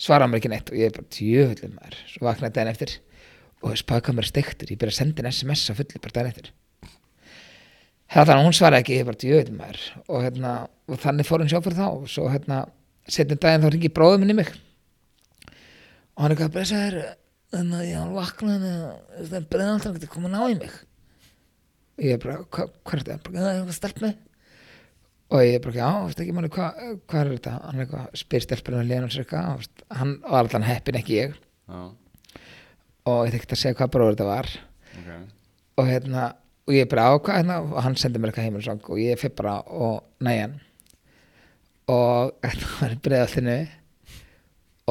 Speaker 1: svara mér ekki neitt og ég er bara tjöfullum maður svo vaknaði daginn eftir og þess baka mér steiktur, ég byrja að senda henni sms á fullu bara daginn eftir Þetta hún svaraði ekki, ég bara djöðum maður og, hérna, og þannig fór hún sjá fyrir þá og svo hérna, setjum daginn þá ringi bróðum minn í mig og hann er eitthvað að breysa þér þannig að ég hann vaknaði þannig að breyða alltaf að koma að ná í mig ég er bara, hva, hvað er þetta? Hann bara, Það er eitthvað stelpni og ég er bara, já, þú veist ekki manni, hva, hvað er þetta? Hann er eitthvað, spyr stelpina að léna sér eitthvað þú veist, hann var allan heppin ekki ég
Speaker 3: Já,
Speaker 1: og ég þekkt að segja hvað bróður þetta var
Speaker 3: ok
Speaker 1: og hérna og ég bara ákvað hérna og hann sendi mér eitthvað heimilisang og ég fyrir bara og næja hann og hérna var ég breiði allinu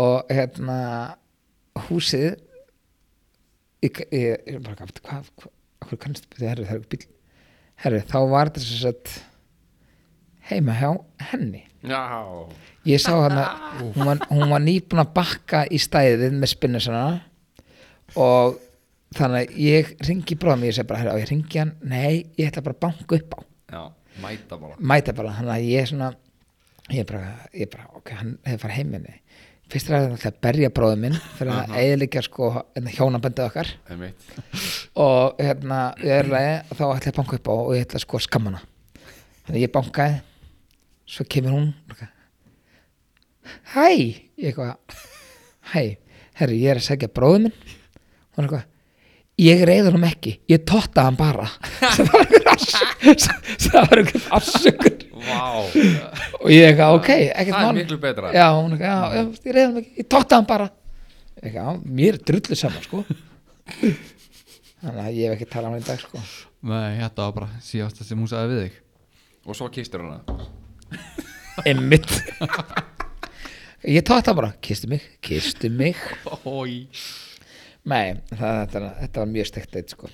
Speaker 1: og hérna húsið ég, ég, ég bara gaf hvað, hvað, hvað kannst þetta herru, það er ekki bíl herru, þá var þetta svo sett heima hjá henni
Speaker 3: Já,
Speaker 1: ég sá hana hún var, hún var nýbúin að bakka í stæðið með spinnisana og þannig að ég ringi bróðum ég segi bara, "Herra, á ég ringi hann nei, ég ætla bara að banka upp á
Speaker 3: já, mæta bara
Speaker 1: mæta bara, þannig að ég er svona ég bara, ég bara ok, hann hefur farið heiminni fyrst er að það ætla að berja bróðum minn fyrir að eðilegja sko hjónabandið okkar
Speaker 3: Eða mitt
Speaker 1: og hérna, í öðru lagi þá ætla ég að banka upp á og ég ætla sko að skamma hana þannig að ég bankaði svo kemur hún og eitthvað, hæ ég eitthvað, hæ herri, ég er að segja bróðum minn hún er eitthvað, ég reyður hann ekki ég totta hann bara sem það var einhver afsökun sem það var einhver afsökun
Speaker 3: Vá,
Speaker 1: og ég eitthvað, ok, ekkert
Speaker 3: það er
Speaker 1: mál.
Speaker 3: miklu betra.
Speaker 1: já, hún eitthvað, já, já, ég reyði hann ekki, ég tótti hann bara eitthvað, já, mér er drullu saman, sko þannig að ég hef ekki talað um hann í dag, sko
Speaker 2: Nei, þetta var bara síðasta sem hún sagði við þig
Speaker 3: og svo kistur hana
Speaker 1: einmitt ég tótti hann bara, kistu mig, kistu mig
Speaker 2: Ói
Speaker 1: nei, það, þetta, þetta var mjög stekt eitt, sko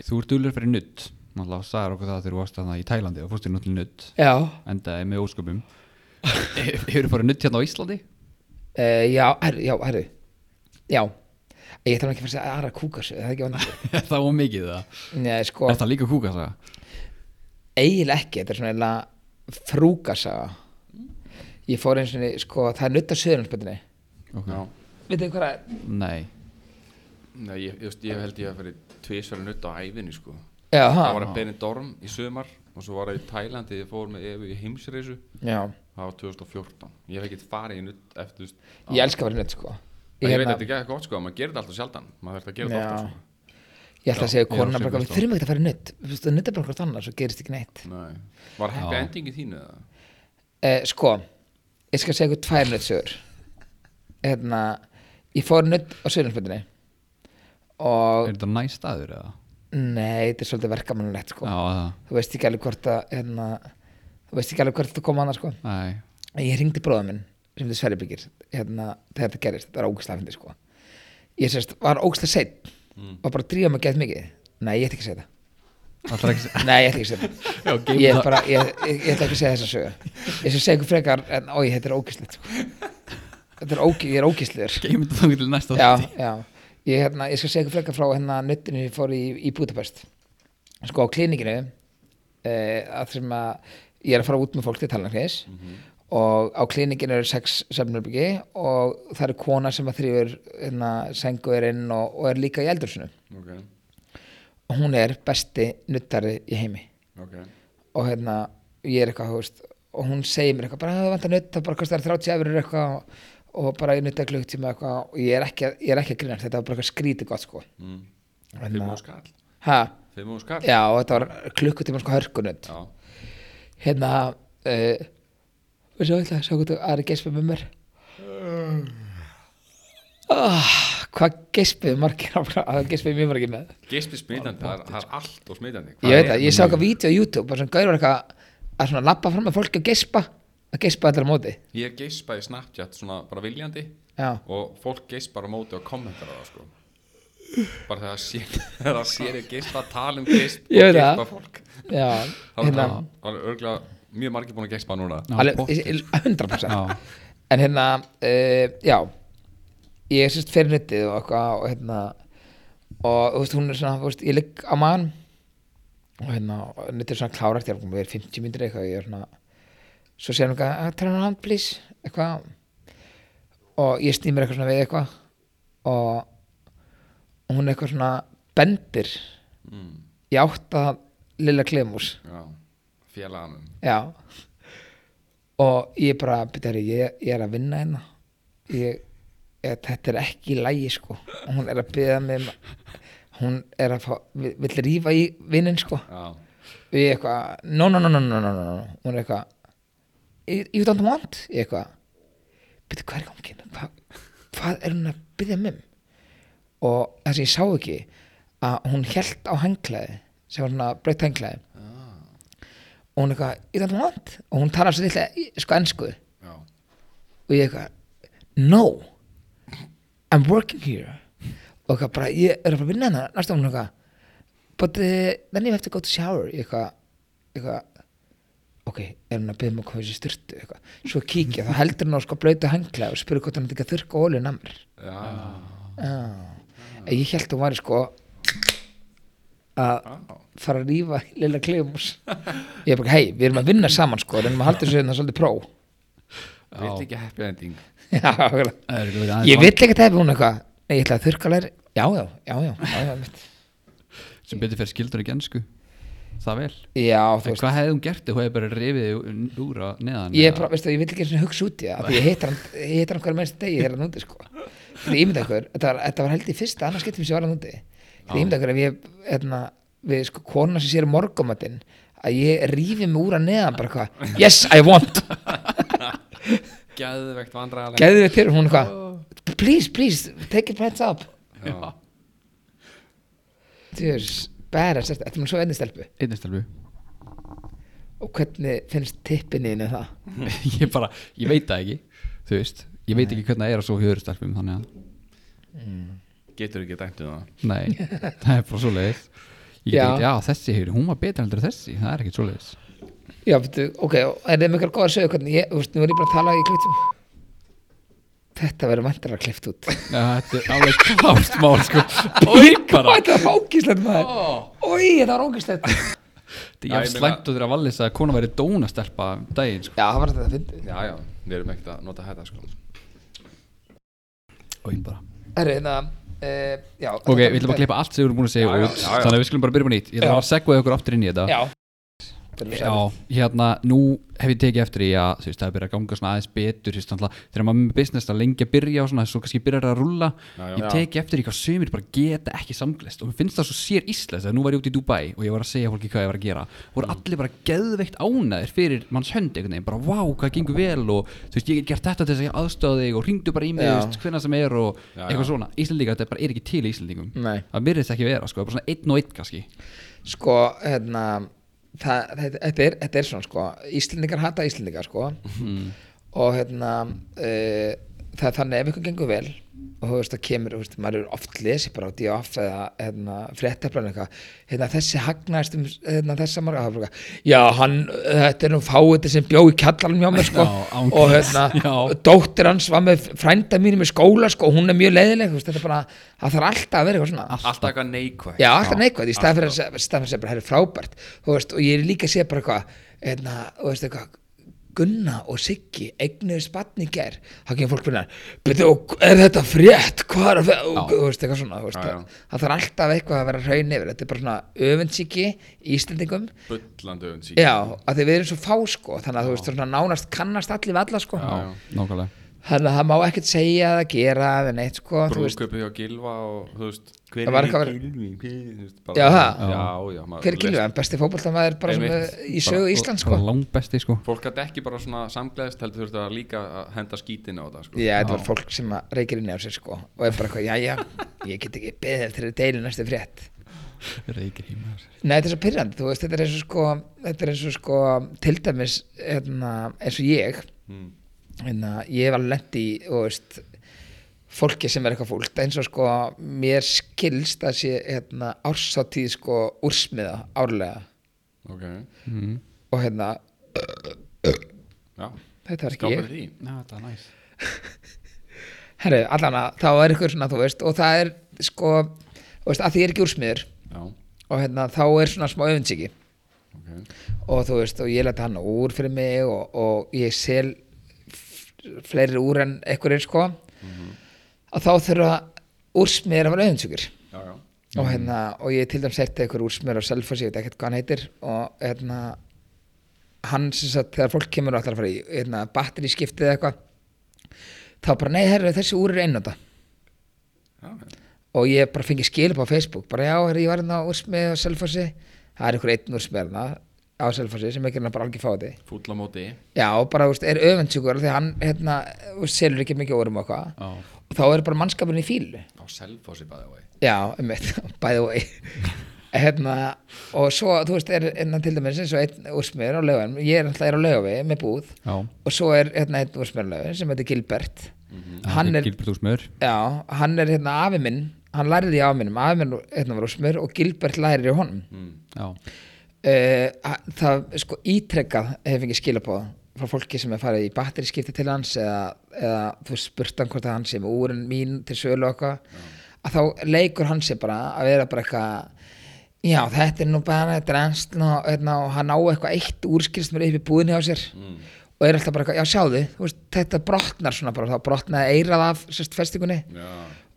Speaker 2: Þú ert dulur fyrir nutt Náttúrulega sagði okkur það þegar þú varst þarna í Tælandi og fórst í nutt nutt
Speaker 1: já,
Speaker 2: endaði með ósköpum Hefur þú farið nutt hérna á Íslandi?
Speaker 1: e, já, herru, já, herru já, ég ætla nú ekki að fara að segja aðra kúkas, það er ekki vandur
Speaker 2: það var mikið það
Speaker 1: nei, sko,
Speaker 2: Er það líka kúka það?
Speaker 1: eiginlega ekki, þetta er svona eiginlega frúkasaga ég fór eins og sko, það er nutt á söðurlandsbyrni
Speaker 2: Okay.
Speaker 3: Já,
Speaker 1: veitu hvað það er?
Speaker 2: Nei
Speaker 3: Nei, ég, ég, ég held ég að fyrir tvisverju nutt á ævinni sko
Speaker 1: Já,
Speaker 3: Það var
Speaker 1: ha,
Speaker 3: að Benidorm í sumar og svo var ég í Tælandi ég fór með Efu í heimsreisu
Speaker 1: já,
Speaker 3: það var 2014 ég hef ekkert farið í nutt eftir þú veist,
Speaker 1: ég elska að vera nutt sko
Speaker 3: ég, ég veit að þetta er ekki gott sko maður gerir þetta alltaf sjaldan maður þarf að gera þetta sko. alltaf
Speaker 1: Já. Ég ætla að segja
Speaker 2: Já,
Speaker 1: konuna
Speaker 2: já,
Speaker 1: bara,
Speaker 2: Sigurður
Speaker 1: við þurfum ekkert að fara í nutt Við veist, nutt er bara hvort annars og gerist ekki neitt
Speaker 3: sko. Nei. var happy
Speaker 2: Já.
Speaker 3: ending í þínu eða?
Speaker 1: eh, Sko, ég skal segja ykkur tvær nuttsögur Hérna, ég fór nutt á Söðlanspöndinni
Speaker 2: Er
Speaker 1: Og,
Speaker 2: þetta næst staður eða?
Speaker 1: nei, þetta er svolítið verkamannulegt sko
Speaker 2: Já, það,
Speaker 1: Þú veist ekki alveg hvort að, hérna Þú veist ekki alveg hvort þetta kom annars sko
Speaker 2: nei,
Speaker 1: En ég ringdi bróða minn sem þetta Sverri byggir hérna, þegar þetta gerist, þetta var ógæslega fyndið sko ég sérst, var ógæslega seitt
Speaker 2: Mm.
Speaker 1: og bara dríða mig gett mikið nei, ég ætti ekki að segja það
Speaker 2: það er ekki sér
Speaker 1: nei, ég ætti ekki að segja það
Speaker 2: Já, geymdu
Speaker 1: ég,
Speaker 2: það.
Speaker 1: er bara, ég, ég, ég ætla ekki að segja þessa sögu ég skal segja ykkur frekar, en oi, þetta er ógæslegt sko. þetta er ógæ, ég er ógæslegur
Speaker 2: Geymum þetta þá til næsta
Speaker 1: já,
Speaker 2: þátti.
Speaker 1: já. Ég, hérna, ég skal segja ykkur frekar frá hérna nuttinu ég fór í, í Budapest sko á klinikinu eh, að sem að ég er að fara út með fólk til talanreis og á klinikinu eru sex söfnurbyggi og það er kona sem að þrýfur hérna, senguðurinn og, og er líka í eldursunum
Speaker 3: ok,
Speaker 1: og hún er besti nuttari í heimi
Speaker 3: ok
Speaker 1: og hérna, ég er eitthvað, þú veist, og hún segir mér eitthvað, bara "Ah, það vantar nutt, það bara kostar 30 efur eitthvað og, og bara ég nutta klukktíma eitthvað og ég er ekki, að- ég er ekki að grínast, þetta var bara eitthvað skrítið gott sko.
Speaker 3: mm.
Speaker 1: En
Speaker 3: fimm
Speaker 1: að-
Speaker 3: og skall
Speaker 1: Ha,
Speaker 3: fimm og skall
Speaker 1: já, og þetta var klukkutíma sko hörkunutt.
Speaker 3: já,
Speaker 1: Hérna, uh, og svo ætla, svo gott aðri geispa með mér. Oh, hvað geispið margir á hvað geispið mjög margir með
Speaker 3: geispi smitandi, það er- það er allt og smitandi
Speaker 1: sko. ég veit það, ég sá eitthvað vídeo á YouTube bara sem gaur var eitthvað að svona lappa fram með fólki og geispa að geispa allar á móti
Speaker 3: ég geispa í Snapchat svona bara viljandi
Speaker 1: já.
Speaker 3: og fólk geispar á móti og kommentar á það sko bara þegar það sér, þegar það sér ég geispa tala um geisp og
Speaker 1: Ég veit það.
Speaker 3: geispa fólk
Speaker 1: Já,
Speaker 3: þá er
Speaker 1: hérna,
Speaker 3: það er örgulega mjög margir búin að geispa núna
Speaker 2: Já,
Speaker 1: alveg
Speaker 2: pottet.
Speaker 1: ég- 100%
Speaker 2: Já.
Speaker 1: En hérna, uh, já Ég er sérst fyrir nýttið og eitthvað og hérna og þú veist, hún er svona, þú veist, ég ligg á maðan og hérna, nýttið er svona klárætt ég er búin að vera 50 mínútur eitthvað ég er svona, svo segir hún eitthvað "Ah, turn around please, eitthvað og ég snýmur eitthvað svona við eitthvað og hún eitthvað svona bendir
Speaker 3: mm,
Speaker 1: ég átt að lilla klemús
Speaker 3: já, félaganum
Speaker 1: Já Og ég bara, betur, ég, ég er að vinna hérna ég, ég, Þetta er ekki í lægi sko Og Hún er að byggja mig um- Hún er að fá, vill vill rífa í vinnin sko
Speaker 3: já,
Speaker 1: Og ég eitthvað, no, no, no, no, no, no, no, no. Hún er eitthvað "You- You don't want Ég eitthvað, betur, hvað er gangin Hva, Hvað er hún að byggja mig um Og það sem ég sá ekki Að hún held á henglaði Sem var svona breytt henglaði og hún eitthvað, ég ætla vant og hún talar svo lilla sko ennsku og
Speaker 3: já,
Speaker 1: ég eitthvað, no I'm working here og eitthvað bara, ég er að fara að vinna hérna næstum hún eitthvað but uh, then you have to go to shower ég eitthvað, eitthvað ok, er hún að byrja mig um að koma þessi styrtu eitthvað, svo kíkja, þá heldur hún á sko blöytu hengla og spyrir hvort hann ekki að þurrka ólun að mér
Speaker 3: já,
Speaker 1: ah. ég held hún væri sko að
Speaker 3: já.
Speaker 1: fara að rífa í lilla klefumús ég er bara, hei, við erum að vinna saman sko reynum að halda þessu hérna svolítið pró
Speaker 3: vilt ekki happy ending
Speaker 1: Já, nákvæmlega.
Speaker 2: Það er ekki verið aðeins
Speaker 1: ég vill ekki tefja hún eitthvað nei, ég ætla að þurrka læri já, já, já, já, já, já, mitt.
Speaker 2: langt sem betur fyrir skildur ekki ensku Það vel
Speaker 1: já þú
Speaker 2: En
Speaker 1: veist
Speaker 2: hvað hefði hún gert ef hún hefði bara rifið þig úr á neðan?
Speaker 1: ég, er
Speaker 2: eða?
Speaker 1: bara, veistu, ég vill ekki einu sinni hugsa út í það af því ég hittar hann, ég hittar hann hverja mennst degi þegar hann úti sko Þetta er ímynda ykkur, þetta var, þetta var held í fyrsta annars getum sem ég var hann úti Þetta er ímynda ykkur ef ég, hérna, við sko kona sem sér morgumatinn að ég rífi mig úr að neðan bara hvað, yes, I want
Speaker 3: geðvegt vandræðaleg
Speaker 1: Gæðu þið fyrir hún eitthvað Please, please, take your pants up
Speaker 3: já,
Speaker 1: Djörs, bæra sérst, þetta er mér svo einnig stelpu
Speaker 2: Einnig stelpu
Speaker 1: Og hvernig finnst tippinni inn í það?
Speaker 2: Ég bara, ég veit það ekki Þú veist, ég veit ekki hvernig það er að svo hjöru stelpum Þannig að,
Speaker 3: getur ekki dæmt um það
Speaker 2: nei, það er bara svo leiðis Ég get
Speaker 1: Já.
Speaker 2: ekki, já þessi hefur, hún var betur heldur en þessi Það er ekkert svo leiðis
Speaker 1: Já, betur, ok, er þeim ykkur góða sögur hvernig ég, þú veist, nú er ég bara að tala í kluktum Þetta verður vantarlega klift út
Speaker 2: Þetta er alveg klárt mál sko Í bara
Speaker 1: Þetta var ógislegt maður
Speaker 2: Ó,
Speaker 1: Í, þetta var ógislegt Já,
Speaker 2: Þetta er jafn
Speaker 3: Já, ég meina-
Speaker 2: slæmt og þér að vallis að kona væri dónastelpa um daginn sko
Speaker 1: það var þetta að fyndi
Speaker 3: já, já, við erum ekkert að nota þetta sko
Speaker 2: Og ég bara
Speaker 1: Herru, hérna, uh, já
Speaker 2: Ok, við ætlum að klippa allt sem við erum búin að segja
Speaker 3: Já, já,
Speaker 2: út
Speaker 3: já, já.
Speaker 2: Þannig að við skulum bara byrja upp á nýtt Ég ætla
Speaker 1: Já.
Speaker 2: bara að segja okkur aftur inn í þetta
Speaker 1: Já, þáttur
Speaker 2: Já, hérna, nú hef ég tekið eftir í að þú veist, það er byrjað að ganga svona aðeins betur þú veist, náttúrulega, þegar maður er með business að lengi að byrja og svona, svo kannski byrjar það að rúlla
Speaker 3: Já, já.
Speaker 2: ég tekið eftir í hvað sömur bara geta ekki samglist og mér finnst það svo sér íslens þegar nú var ég út í Dubai og ég var að segja fólki hvað ég var að gera
Speaker 3: Mm.
Speaker 2: voru allir bara geðveikt ánæðir fyrir manns hönd einhvern veginn, bara vá, hvað gengur vel og þú veist, ég get gert þetta til þess að ég aðstöða þig og ringdu bara í mig,
Speaker 1: Já.
Speaker 2: þú veist, hvenna sem er og
Speaker 3: Já, já.
Speaker 2: eitthvað svona, Íslendingar, þetta bara er ekki til í Íslendingum
Speaker 1: Nei.
Speaker 2: það virðist ekki vera, sko, bara svona einn og einn kannski
Speaker 1: sko, hérna það, þetta, þetta, er, þetta er svona sko Íslendingar hata Íslendingar sko
Speaker 2: Mhm.
Speaker 1: og hérna uh, það er þannig ef ykkur gengur vel og þú veist það kemur, þú veist, maður er oft lesi bara á D.O.F. eða hérna, fréttaflan eitthvað, hérna þessi hagnaðist um hérna, þessa marga hafruga já, hann, þetta er nú fáið sem bjó í kjallarinn hjá mér sko
Speaker 2: Já, án
Speaker 1: og
Speaker 2: gríns,
Speaker 1: hérna,
Speaker 2: já.
Speaker 1: dóttir hans var með frænda mínum í skóla sko, og hún er mjög leiðileg, þú veist, þetta er bara það þarf alltaf að vera eitthvað svona
Speaker 3: Alltaf eitthvað neikvægt
Speaker 1: Já, alltaf neikvæð, í staðan fyrir að se- í staðan fyrir að segja bara, það er frábært þú veist, og ég er líka að segja bara eitthvað hérna, þú veist eitthvað Gunna og Siggi, eignuðu spann í ger þá kemur fólk finna "Bíddu, og er þetta frétt, hvað er að fe-" og, þú veist, eitthvað svona, þú veist,
Speaker 3: Já, já.
Speaker 1: það, það þarf alltaf eitthvað að vera hraun yfir, þetta er bara svona öfundsíki í Íslendingum,
Speaker 3: Bullandi öfn sík
Speaker 1: já, að því við erum svo fá sko, þannig að þú veist, svona nánast kannast allir við alla sko,
Speaker 3: Já.
Speaker 2: Nákvæmlega.
Speaker 1: þannig að það má ekkert segja eða gera eða neitt sko, þú veist,
Speaker 3: Brúðköpið hjá Gilva og þú veist Hver
Speaker 1: Það var eitthvað að vera-
Speaker 3: Gylfi? Hver- þú veist, bara-
Speaker 1: Já, það?
Speaker 3: Já, já maður
Speaker 1: hver er
Speaker 3: les-
Speaker 1: gilvæðan, besti fótboltamaður bara sem
Speaker 3: Einmitt.
Speaker 1: er í sögu Ísland sko
Speaker 2: Bara langbesti, sko.
Speaker 3: Fólk gæti ekki bara svona samgleðist heldur þurfti að líka að henda skítinu á það sko.
Speaker 1: Já, þetta var fólk sem að reykir inn á sér sko og er bara eitthvað, já, já, ég get ekki beðið eftir að deila næstu frétt
Speaker 2: Reykir heima þessar
Speaker 1: Nei, þetta er svo pyrrandi, þú veist, þetta er eins og sko þetta er eins og sko, til dæmis hérna, eins og ég
Speaker 3: Mm.
Speaker 1: hérna, ég hef alveg lent í þú veist, fólki sem er eitthvað fólk eins og sko, mér skilst að sé, hérna, ársatíð sko, úrsmiða, árlega
Speaker 3: Ok,
Speaker 2: Mm.
Speaker 1: og hérna,
Speaker 3: já
Speaker 1: þetta var ekki
Speaker 3: Gáfum
Speaker 1: ég
Speaker 3: því
Speaker 2: Já, þetta er næs
Speaker 1: Herru, allana, þá er ykkur svona, þú veist og það er sko, þú veist, að því ég er ekki úrsmiður
Speaker 3: Já,
Speaker 1: og hérna, þá er svona smá öfundsíki
Speaker 3: ok
Speaker 1: og þú veist, og ég leta hann úr fyrir mig og, og ég sel f- fleiri úr en einhverjir sko að þá þurfa úrsmiður að vera auðvinsugur
Speaker 3: Já, já
Speaker 1: og hérna, og ég til dæmis setti einhver úrsmiður á Selfoss, ég veit ekkert hvað hann heitir og hérna hann sem sagt, þegar fólk kemur og ætlar að fara í hérna, batteri skiptið eða eitthvað þá bara, nei, herru, þessi úr er einnóta
Speaker 3: Já,
Speaker 1: og ég bara fengi skil upp á Facebook bara já, herri, ég var hérna á Úrsmið og Selfossi það er einhver einn Úrsmið hérna á Selfossi sem ekki hérna bara algjör fáti
Speaker 3: fúll á móti
Speaker 1: já, og bara, þú veist, er öfundsjúkur því hann, hérna, þú veist, selur ekki mikið orðum og eitthvað
Speaker 2: Já.
Speaker 1: og þá er bara mannskapurinn í fílu
Speaker 3: Á selfossi bæði og
Speaker 1: já, um by the way hérna, og svo, þú veist, er hérna til dæmis eins og einn Úrsmið á laugan ég er alltaf er á laugavi með búð
Speaker 2: Já,
Speaker 1: og svo er hérna einn Úrsmið á laugan sem heitir Gilbert
Speaker 2: hann
Speaker 1: hann
Speaker 2: er
Speaker 1: er
Speaker 2: Gilbert Úsmör
Speaker 1: Já, hann er hérna afi minn hann lærði í afi minnum, afi minn hérna var úsmur og Gilbert lærði í honum mm.
Speaker 2: Já,
Speaker 1: Eh, það sko ítrekkað hef ekki skilabóð frá fólki sem er farið í batteriskipti til hans eða, eða þú veist, spurt hann hvort að hann sé með úrin mín til sölu og eitthvað að þá leikur hann sér bara að vera bara eitthvað já þetta er nú bara þetta er ennst og, hérna, og hann á eitthvað eitt úrskilst mér upp í búðinni á sér og er alltaf bara eitthvað, já sjáðu þú veist, þetta brotnar svona bara þá brotnaði eirað af sérst festingunni
Speaker 3: Já,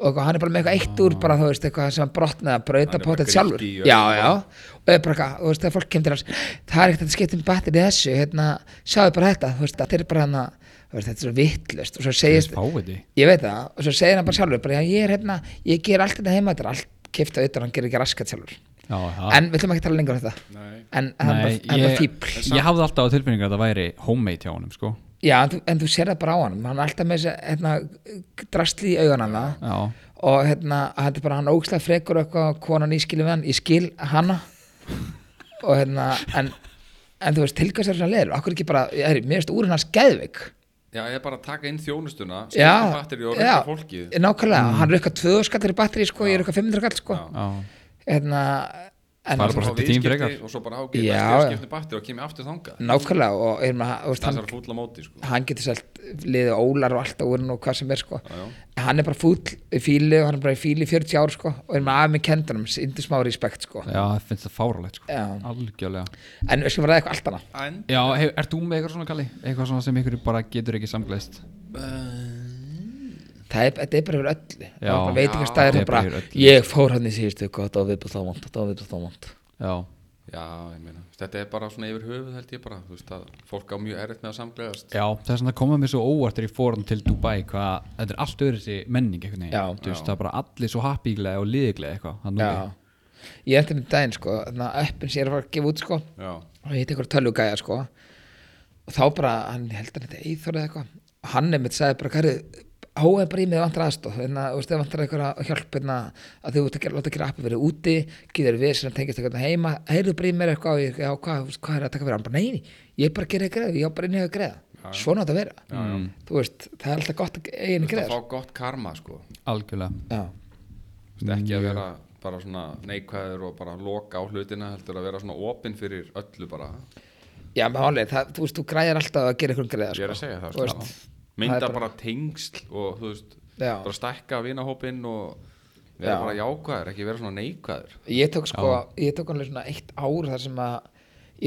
Speaker 1: og eitthvað, hann er bara með eitthvað eitt úr bara þú veist eitthvað sem hann brotnaði að brauta
Speaker 3: Hann er bara
Speaker 1: potið
Speaker 3: grýtt
Speaker 1: sjálfur
Speaker 3: í og-
Speaker 1: já, já, og er bara eitthvað, þú veist þegar fólk kemur til hans það er ekkert að skipta um batterið í þessu hérna, sjáðu bara þetta, þú veist, þetta er bara hann þú veist, þetta er svo vittlust og svo segist,
Speaker 2: fáiði
Speaker 1: ég veit það, og svo segir hann bara sjálfur bara, já, ég er hérna, ég ger allt þetta heima þetta er allt kipta auðvitað, hann gerir ekki raskat sjálfur
Speaker 2: Já, já
Speaker 1: en við ætlum ekki að tala lengur um þetta
Speaker 3: Ah. nei
Speaker 1: en hann
Speaker 2: Nei,
Speaker 1: var, hann var
Speaker 2: ég,
Speaker 1: fíbl
Speaker 2: ég hafði alltaf á tilfinningu að það væri homemade hjá honum, sko
Speaker 1: já, en þú, en þú sér það bara á hann hann er alltaf með þessi, hérna, drastli í augunanna
Speaker 2: Já,
Speaker 1: og hérna, þetta er bara hann ógslag frekur og eitthvað, konan ískilum við hann, ég skil hana og hérna, en, en þú veist, tilgæðs er svona leður, okkur ekki bara, ég er, mér veist úr hans geðvik,
Speaker 3: Já, ég er bara að taka inn þjónustuna
Speaker 1: já,
Speaker 3: Skipta batteri og
Speaker 1: já,
Speaker 3: reyna fólkið
Speaker 1: nákvæmlega,
Speaker 2: Mm.
Speaker 1: hann er eitthvað 200 skallir í batteri, sko, ég er eitthvað 500 skall, sko,
Speaker 3: Já.
Speaker 2: já,
Speaker 1: hérna, en,
Speaker 2: Bara
Speaker 3: Svo
Speaker 2: bara
Speaker 3: fá
Speaker 2: setja tím
Speaker 3: viðskipti
Speaker 2: frekar.
Speaker 3: Og svo bara
Speaker 1: Já,
Speaker 3: ágæða
Speaker 1: já. Mm.
Speaker 3: skipti batteri og kemur aftur þangað
Speaker 1: nákvæmlega, og hérna, þú veist,
Speaker 3: Það
Speaker 1: hann,
Speaker 3: er fúll á móti sko
Speaker 1: hann getur selt liðið ólar og allt á úrn og hvað sem er, sko,
Speaker 3: Já, já.
Speaker 1: hann er bara fúll í fíli og hann er bara í fíli í 40 ár, sko, og hérna, af með kendunum, indi smá respekt, sko,
Speaker 2: já, það finnst það fáralegt, sko
Speaker 1: Já.
Speaker 2: Algjörlega
Speaker 1: en við skulum ræða eitthvað allt annað.
Speaker 3: En
Speaker 2: Já, hef, ert þú með eitthvað svona, Kalli? Eitthvað svona sem ykkur bara getur ekki samgleist
Speaker 1: það er, þetta er bara yfir öllu Það
Speaker 2: Já.
Speaker 1: er bara hérna veitingastæðir það
Speaker 2: Já,
Speaker 1: er
Speaker 2: þetta er
Speaker 1: bara,
Speaker 2: yfir öllu.
Speaker 1: ég fór hann í síðustu og það var viðbúð þá vant, það var viðbúð þá vant
Speaker 2: Já,
Speaker 3: Já, ég meina, þetta er bara svona yfir höfuð held ég bara, þú veist að fólk á mjög erfitt með að samgleðast
Speaker 2: Já, það er svona að koma mér svo óvart þegar ég fór hann til Dubai hvað, þetta er allt öðru þessi menning einhvern veginn,
Speaker 1: Já.
Speaker 2: þú veist, það er bara allir svo happyglega og liðiglega eitthvað, þannig að
Speaker 1: Já. Ég endur um daginn sko, þannig að öppin sér að fara að gefa út sko
Speaker 3: Já,
Speaker 1: og ég hitt einhver tölvugæja sko og þá bara, hann ég held að þetta eithor eða eitthvað og hann einmitt sagði bara, hverju háið bara í mig vantar aðstof þannig að þú veist, ef vantar einhverja hjálp hérna, að þú ert að gera, láta gera appi verið úti getur við sem tengist eitthvað heima heyrðu bara í mér eitthvað og ég, já, hvað, þú veist, hvað er að taka fyrir hann bara, nei, nei, ég bara gera greið ég á bara inni að greið, svona á þetta að vera já, já. þú veist, það er alltaf gott að eigin
Speaker 3: það
Speaker 1: greið
Speaker 3: fá gott karma sko
Speaker 2: algjörlega
Speaker 1: já,
Speaker 3: Þú veist, ekki að vera bara svona neikvæður og bara loka á hlutina heldur að vera svona opinn fyrir öllu bara
Speaker 1: já, máli, það, þú veist, þú græðir alltaf að gera einhverjum greið
Speaker 3: ég er að segja
Speaker 1: Þú
Speaker 3: það sko.
Speaker 1: veist, það
Speaker 3: mynda
Speaker 1: er
Speaker 3: bara tengsl og þú veist
Speaker 1: Já.
Speaker 3: bara stækka vinahópinn og vera
Speaker 1: Já.
Speaker 3: bara jákvæður, ekki vera svona neikvæður
Speaker 1: Ég tók sko, ég tók alveg svona eitt ár þar sem að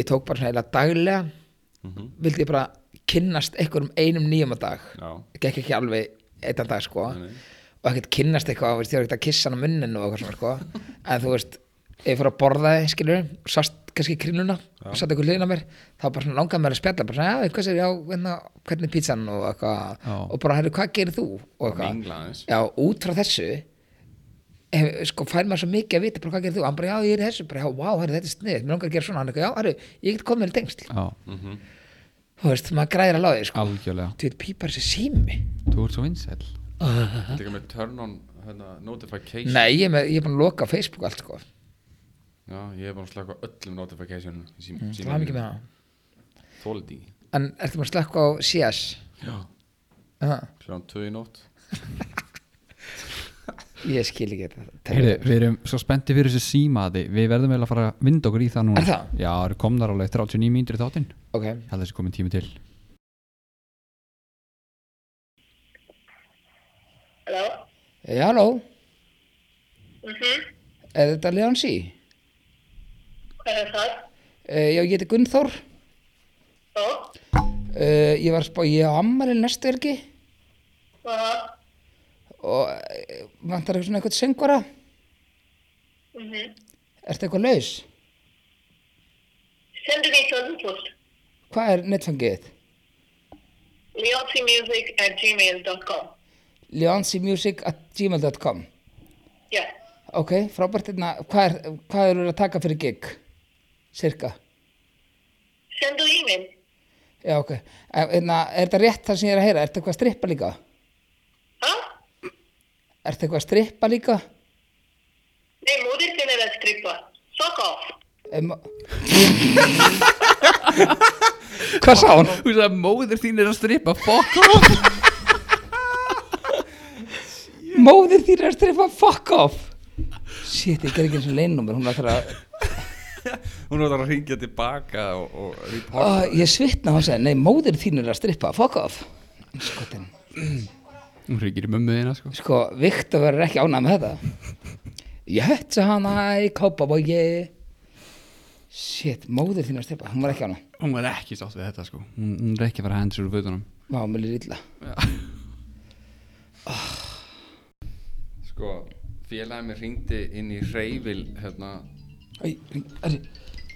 Speaker 1: ég tók bara svona eiginlega daglega vildi ég bara kynnast einhverjum einum nýjum að dag
Speaker 3: Já.
Speaker 1: gekk ekki alveg eittan dag sko
Speaker 3: Nei, nei.
Speaker 1: og ekkert kynnast eitthvað, þú veist, ég var ekkert að kissa hann á munninu og eitthvað svona sko en þú veist, ef ég fór að borða þið, skilur og sast kannski krínuna og satt eitthvað liðna mér þá bara svona langaði mér að spjalla bara svona, já, hvað sér, já, hérna, hvernig er pítsan og eitthvað,
Speaker 2: Já.
Speaker 1: og bara, herru, hvað gerir þú og eitthvað,
Speaker 3: mingla aðeins
Speaker 1: Já, út frá þessu hef, sko, fær maður svo mikið að vita bara hvað gerir þú, hann bara, já, ég er í þessu bara, já, vá, herri, þetta er snið, mér langar að gera svona hann eitthvað, já, herri, ég get komið með tengsl
Speaker 2: Já,
Speaker 1: þú veist, maður græðir að láði, sko
Speaker 2: algjörlega,
Speaker 1: þú veit, pípar þessi sími
Speaker 2: þú ert svo vinsæl
Speaker 3: Þetta er ekki með turn on hérna, notification
Speaker 1: nei, ég er, með, ég er búin að loka Facebook allt, sko
Speaker 3: Já, ég er bara að slaka á öllum notificationum sím, mm,
Speaker 1: það er mikið með það
Speaker 3: Þóldi ekki
Speaker 1: en ertu maður að slakka á CS
Speaker 3: Já,
Speaker 1: Aha,
Speaker 3: kljóðan tvö í nótt
Speaker 1: ég skil ekki þetta
Speaker 2: Heyrðu, við erum svo spenntið fyrir þessu símaði Við verðum eiginlega að fara að vinda okkur í það núna
Speaker 1: Er það?
Speaker 2: Já, það eru komnar alveg 39 mínútur í þáttinn Ég
Speaker 1: ok,
Speaker 2: held að þessi komin tími til
Speaker 4: Halló?
Speaker 1: já, Eh, halló
Speaker 4: Mhm.
Speaker 1: er þetta Leon C?
Speaker 4: Hvað er það?
Speaker 1: Uh, já, ég heiti Gunnþór uh,
Speaker 4: Ó,
Speaker 1: ég var að spá, ég á ammalinn næstu er ekki
Speaker 4: aha,
Speaker 1: og eh, vantar eitthvað svona eitthvað söngvara
Speaker 4: mhm.
Speaker 1: Ertu eitthvað laus?
Speaker 4: Sendu mig tölvupóst.
Speaker 1: Hvað er netfangið?
Speaker 4: Leoncymusic at gmail.com
Speaker 1: leonsimusic.gmail.com
Speaker 4: Já,
Speaker 1: Ok, frábært hérna, hvað, er, hvað eru að taka fyrir gig? Cirka?
Speaker 4: sendu e-mail.
Speaker 1: Já, ok. En, Hérna, er þetta rétt það sem ég er að heyra? Ertu eitthvað að strippa líka?
Speaker 4: Ha?
Speaker 1: Ertu eitthvað að strippa líka?
Speaker 4: Nei, móðir þinn er að strippa. Fuck off.
Speaker 1: Um, hvað sá hann?
Speaker 2: Þú veist að móðir þín er að strippa Fuck off
Speaker 1: Móðir þín er að strippa fuck off! Shit, ég ger ekki eins og leinnúmer, hún er að það að...
Speaker 3: Hún var að ringja tilbaka og, og reporta
Speaker 1: Oh, ég svitna hún segir, nei, móðir þín er að strippa fuck off! Skotin.
Speaker 2: Hún hringir í mömmu þína sko
Speaker 1: sko, Viktor verður ekki ánægð með þetta ég höttu hana í kópabói shit, móðir þín er að stefa hún var ekki ánægð,
Speaker 2: Hún er ekki sátt við þetta sko Hún, hún er ekki að fara að hendur úr fötunum
Speaker 1: má, mér líður illa
Speaker 3: Sko, félagið mér ringdi inn í reyfil hérna
Speaker 1: Æ, hring- Ari,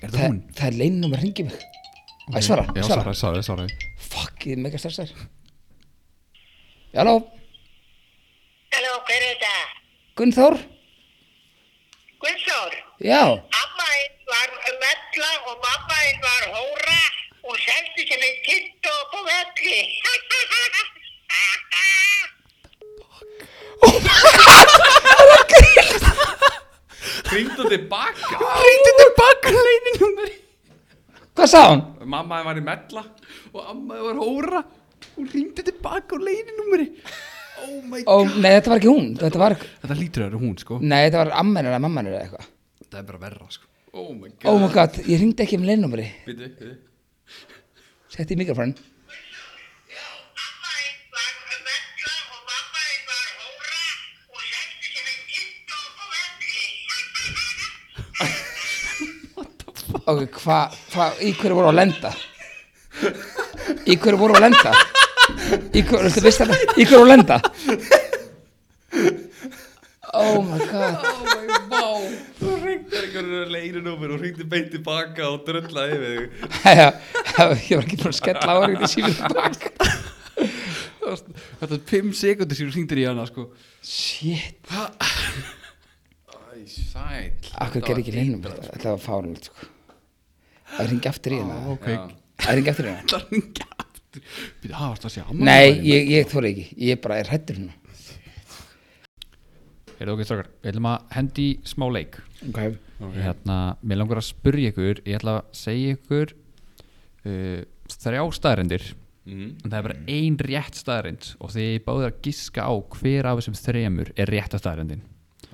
Speaker 2: Er
Speaker 1: það, það er leininum að ringi mig Æ, svara,
Speaker 2: Já,
Speaker 1: svara
Speaker 2: svara, svara, svara
Speaker 1: fuck, ég er mega stressar Halló,
Speaker 4: Halló, hver er þetta?
Speaker 1: Gunnþór
Speaker 4: Guðsór,
Speaker 1: já,
Speaker 4: amma einn var mella og mamma einn var hóra og seldi sem einn kitt og på velli.
Speaker 3: Ringdu tilbaka
Speaker 2: Hringdi tilbaka leininúmer
Speaker 1: hvað sá hún?
Speaker 3: Mamma þín var í mella
Speaker 2: Og amma var hóra Hún hringdi tilbaka á leininúmeri Oh my
Speaker 1: Ó, nei, þetta var ekki hún, þetta var
Speaker 2: Þetta hlýtur að vera hún sko
Speaker 1: nei, þetta var ammenur eða mammanur eða eitthvað
Speaker 2: Þetta er bara verra sko
Speaker 3: Oh my
Speaker 1: oh my
Speaker 3: god
Speaker 1: god, ég ringdi ekki um leininumri
Speaker 3: Býtu, býtu
Speaker 1: setti í mikrofón
Speaker 4: Amma einn var mella og mamma einn var hóra og seldi sem einn kitt og på velli.
Speaker 1: Ok, hvað, hva, í hverju voru að lenda? Í hverju voru að lenda? Í hverju, veistu, veistu þetta? Í hverju voru að lenda? Oh my god,
Speaker 3: Oh my wow Þú ringdi ekki einhverjur er leinunúmer og hringdi beint tilbaka og drullaði yfir þig
Speaker 1: Já, ég var ekki búin að skella á hann í síminn tilbaka.
Speaker 2: Þetta er 5 sekundir sem þú hringdir í hana sko.
Speaker 1: Shit,
Speaker 3: Æ, sæl
Speaker 1: akkur gerði ekki leinum Þetta var fárlegt sko Að ringa aftur í hana
Speaker 2: Ok,
Speaker 3: Já.
Speaker 1: Að ringja aftur í hana
Speaker 2: það er hringja aftur Býtu, það varst að sé amma
Speaker 1: Nei, ég, ég þóri ekki, ég bara er hættur núna
Speaker 2: Er það ok, strákar, við ætlum að hendi í smá leik
Speaker 1: Ok
Speaker 2: Hérna, mér langar að spurja ykkur Ég ætla að segja ykkur uh, Þrjá staðarendir
Speaker 3: mm.
Speaker 2: En það er bara ein rétt staðarind Og þið er báðið að giska á hver af þessum þremur Er rétta staðarindin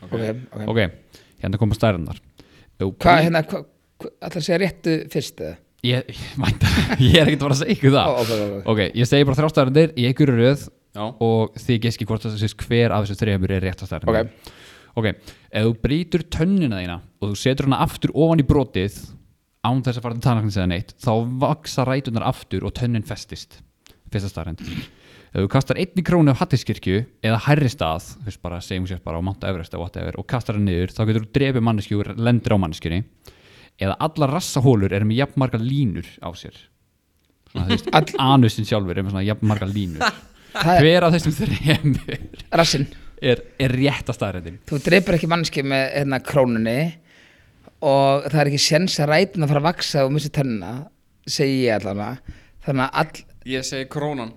Speaker 1: Ok, ok
Speaker 2: Ok, hérna koma staðarindar
Speaker 1: Hvað, hérna, hvað, hva, ætla að segja réttu fyrst eða?
Speaker 2: Ég, ég, vænta, ég er ekkert að fara að segja ykkur það
Speaker 1: Ó, ok, ok, ok.
Speaker 2: ok, ég segi bara þrjá staðarindir Í ykkur röð
Speaker 3: Já,
Speaker 2: og þið geski hvort það sést hver af þessu þrejumur er rétt að stærna
Speaker 1: Ok.
Speaker 2: ok, ef þú brýtur tönnina þína og þú setur hana aftur ofan í brotið án þess að fara til tannaknis eða neitt þá vaksa rætunar aftur og tönnin festist fyrsta starrend ef þú kastar einni krónu á hattiskirkju eða hærri stað, þú veist bara segjum sér bara á Mount Everest eða whatever og kastar hann niður þá getur þú drefið manneskju og lendir á manneskjunni eða allar rassahólur eru með jafnmarga línur á sér svona, þú
Speaker 1: All-
Speaker 2: veist, anusin sjálfur er með svona jafnmarga línur
Speaker 1: Það er
Speaker 2: hver af þessum þremur
Speaker 1: rassinn
Speaker 2: er, er rétta staðrændin
Speaker 1: Þú dreipur ekki mannski með hérna krónunni og það er ekki séns að rætin að fara að vaksa og missa tönna segi ég allavega þannig að all,
Speaker 3: ég segi krónan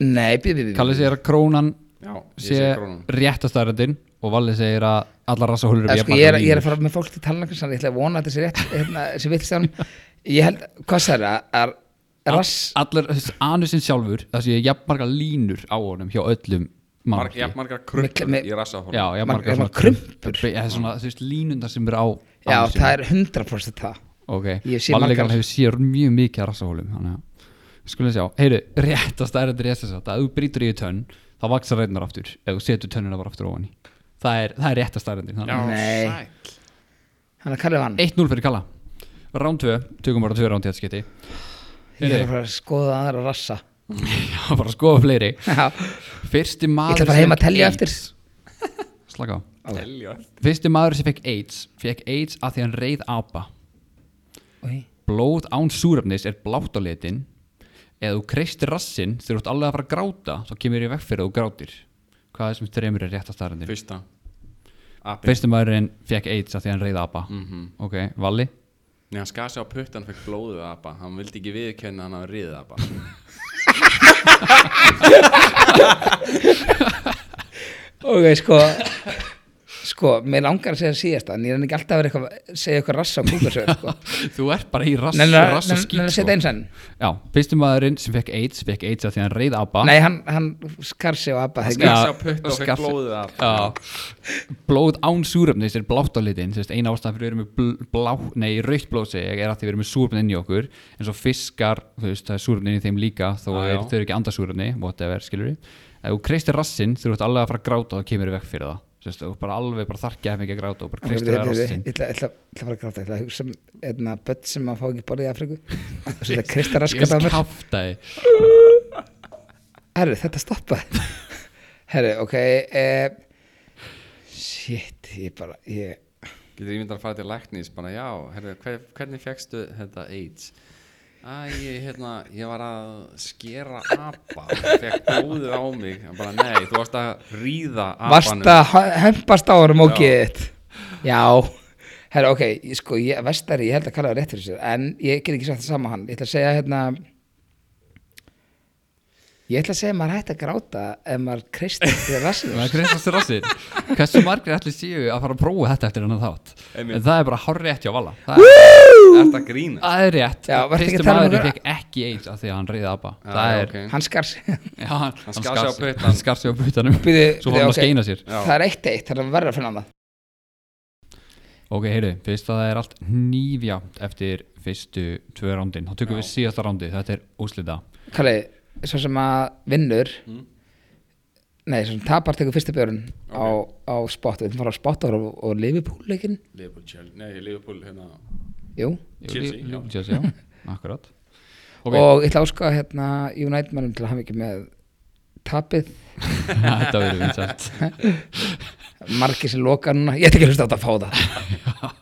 Speaker 1: nei, býð, býð, býð
Speaker 2: Kalli segir að krónan
Speaker 3: Já, ég
Speaker 2: sé
Speaker 3: segi krónan
Speaker 2: rétta staðrændin og Valli segir að allar rassahólur
Speaker 1: Eða,
Speaker 2: eru
Speaker 1: sko, ég, er,
Speaker 2: jafnmargar
Speaker 1: ég er að
Speaker 2: línur.
Speaker 1: fara með fólk til talnarkansan ég ætla að vona að þetta sé rétt hérna, sem vill þannig ég held, hvað sagði það, að rass
Speaker 2: All- allar þess anusin sjálfur það sé jafnmarga línur á honum hjá öllum
Speaker 3: Marg,
Speaker 2: mannfólki.
Speaker 3: Jafn margar krumpur
Speaker 1: Mikla-
Speaker 3: í rassahólum
Speaker 2: já,
Speaker 1: Margar-
Speaker 2: jafnmarga
Speaker 1: margar krumpur.
Speaker 2: Eh, svona, þú veist, línundar sem eru á
Speaker 1: já,
Speaker 2: anusinum.
Speaker 1: það er 100% það
Speaker 2: Ok,
Speaker 1: Ég sé
Speaker 2: Valli
Speaker 1: margar-
Speaker 2: Garðar hefur séð mjög mikið að rassahólum þannig að við skulum sjá, heyru, rétt að stærðandir er þess að ef þú brýtur í þig tönn þá vaksar reynar aftur, ef þú setur tönnina bara aftur ofan í það er, það er rétt að stærðandir
Speaker 3: Já,
Speaker 1: Nei.
Speaker 3: sæll
Speaker 1: hann er kallið vann
Speaker 2: 1-0 fyrir Kalla Rán 2, tökum bara 2 rán til þetta skiti
Speaker 1: ég er að fara að skoða aðra rassa
Speaker 2: Já, bara að skoða fleiri
Speaker 1: Já.
Speaker 2: Fyrsti maður
Speaker 1: ætla bara
Speaker 2: sem
Speaker 1: heim að
Speaker 2: fékk
Speaker 1: telja
Speaker 2: AIDS-
Speaker 1: eftir.
Speaker 2: Slaka á
Speaker 3: Telja
Speaker 2: Fyrsti maður sem fekk AIDS fekk AIDS að því hann reið apa
Speaker 1: Oj.
Speaker 2: blóð án súrefnis er blátt á litin eða þú kreistir rassinn þegar þú ert alveg að fara að gráta þá kemur ég vekk fyrir að þú grátir hvað er sem þreymur er rétt að staðarandi
Speaker 3: Fyrsta Apinn
Speaker 2: fyrstu maðurinn fekk AIDS að því hann reyða apa ok, Valli
Speaker 3: Nei, hann skaði sig á puttan fekk blóðuð apa Hann vildi ekki viðkenna hann að riða apa
Speaker 1: Ok, sko Sko, mér langar að segja síðasta En ég er ekki alltaf að vera eitthvað Segja eitthvað rass á kúkarsöð sko.
Speaker 2: þú ert bara í rass,
Speaker 1: Nenni að
Speaker 2: rass
Speaker 1: nenni-
Speaker 2: og
Speaker 1: nenni
Speaker 2: skýt
Speaker 1: að setja
Speaker 2: sko.
Speaker 1: eins enn
Speaker 2: já, fyrstu maðurinn sem fekk AIDS fekk AIDS að því hann reyða apa
Speaker 1: Nei, hann, hann skar sig á abba
Speaker 3: skar-
Speaker 1: þegar
Speaker 3: sig á putta og fekk blóðið af.
Speaker 2: já. blóð án súrefnis er blátt á litin sérst, eina ástæðan fyrir við erum með bl- blá, nei, raukt blóð segi ég, er að því við erum með súrefni inn í okkur en svo fiskar, þú veist, það er súrefni inn í þeim líka þó
Speaker 3: Já,
Speaker 2: að
Speaker 3: já.
Speaker 2: þeir- þau eru ekki andar súrefni whatever, skilur við ef þú kreistir rassinn, þú ert alveg að fara að gráta og kemur í vekk fyrir það sérst, þú bara alveg bara þarkja ef ekki að gráta og
Speaker 1: Ég
Speaker 2: bara kreistir
Speaker 1: ætla
Speaker 2: það rassinn
Speaker 1: ég ætla- ég ætla að fara að gráta Ég ætla að hugsa um einna börn sem að fá ekki borðið í Afríku Og setja Krista
Speaker 2: ég
Speaker 1: raskat á mér
Speaker 2: skaftaði
Speaker 1: Herru, þetta stoppaði Herru, ok e Shit, ég bara ég,
Speaker 3: Getur ímyndar að fara til læknis bara já, herri, hver, hvernig fegstu þetta AIDS? Æ, ég, hérna, ég var að skera apa fekk blóðið á mig Hann bara nei, þú varst að ríða
Speaker 1: Varst
Speaker 3: apanum
Speaker 1: að hö- hempast á honum og get Já Herra, ok, ég- sko, ég, vestari, ég held að kalla það rétt fyrir sér En ég get ekki sagt það sama hann Ég ætla að segja hérna Ég ætla að segja að maður hætti að gráta Ef maður kreistir fyrir rassinu
Speaker 2: maður kreistast í rassinn hversu margir ætli séu að fara að prófa þetta eftir hennar þátt
Speaker 3: Einmitt.
Speaker 2: en það er bara hár rétt hjá Valla það er
Speaker 3: Ert að grína?
Speaker 2: Það er rétt,
Speaker 1: Já, varstu ekki
Speaker 2: fyrstu
Speaker 1: að tala um
Speaker 2: maðurinn
Speaker 1: einhverja-
Speaker 2: fekk ekki AIDS af því að hann reyði apa
Speaker 3: Já,
Speaker 2: Það er,
Speaker 3: ok.
Speaker 1: Hann skar sig
Speaker 2: já, hann, hann
Speaker 3: skar sig á puttann.
Speaker 2: Hann skar sig á puttanum,
Speaker 1: Bíðu,
Speaker 2: svo
Speaker 1: bíðu,
Speaker 2: fór hann
Speaker 1: ok.
Speaker 2: að skeina sér
Speaker 3: Já.
Speaker 1: Það er eitt eitt, það er verður að finna það
Speaker 2: Ok, heyrðu, fyrst að það er allt nýfjátt eftir fyrstu tvö rándin Þá tökum
Speaker 3: Já.
Speaker 2: við síðasta rándi, þetta er úslita
Speaker 1: Kalli, svo sem að vinnur Nei, svo sem tapar tekur fyrstu björn á, á spot Við fara á spot og, og lifipúleikin
Speaker 3: Liverpool, Chelsea- nei, Liverpool, hérna
Speaker 1: Jú
Speaker 3: Chelsea, já.
Speaker 2: Chelsea, já, akkurat Ok,
Speaker 1: og ég ætla að áska hérna United mannum til að hafa ekki með tapið,
Speaker 2: þetta verður vinsælt
Speaker 1: margir sem loka núna ég ætla ekki að hlusta á þetta að fá það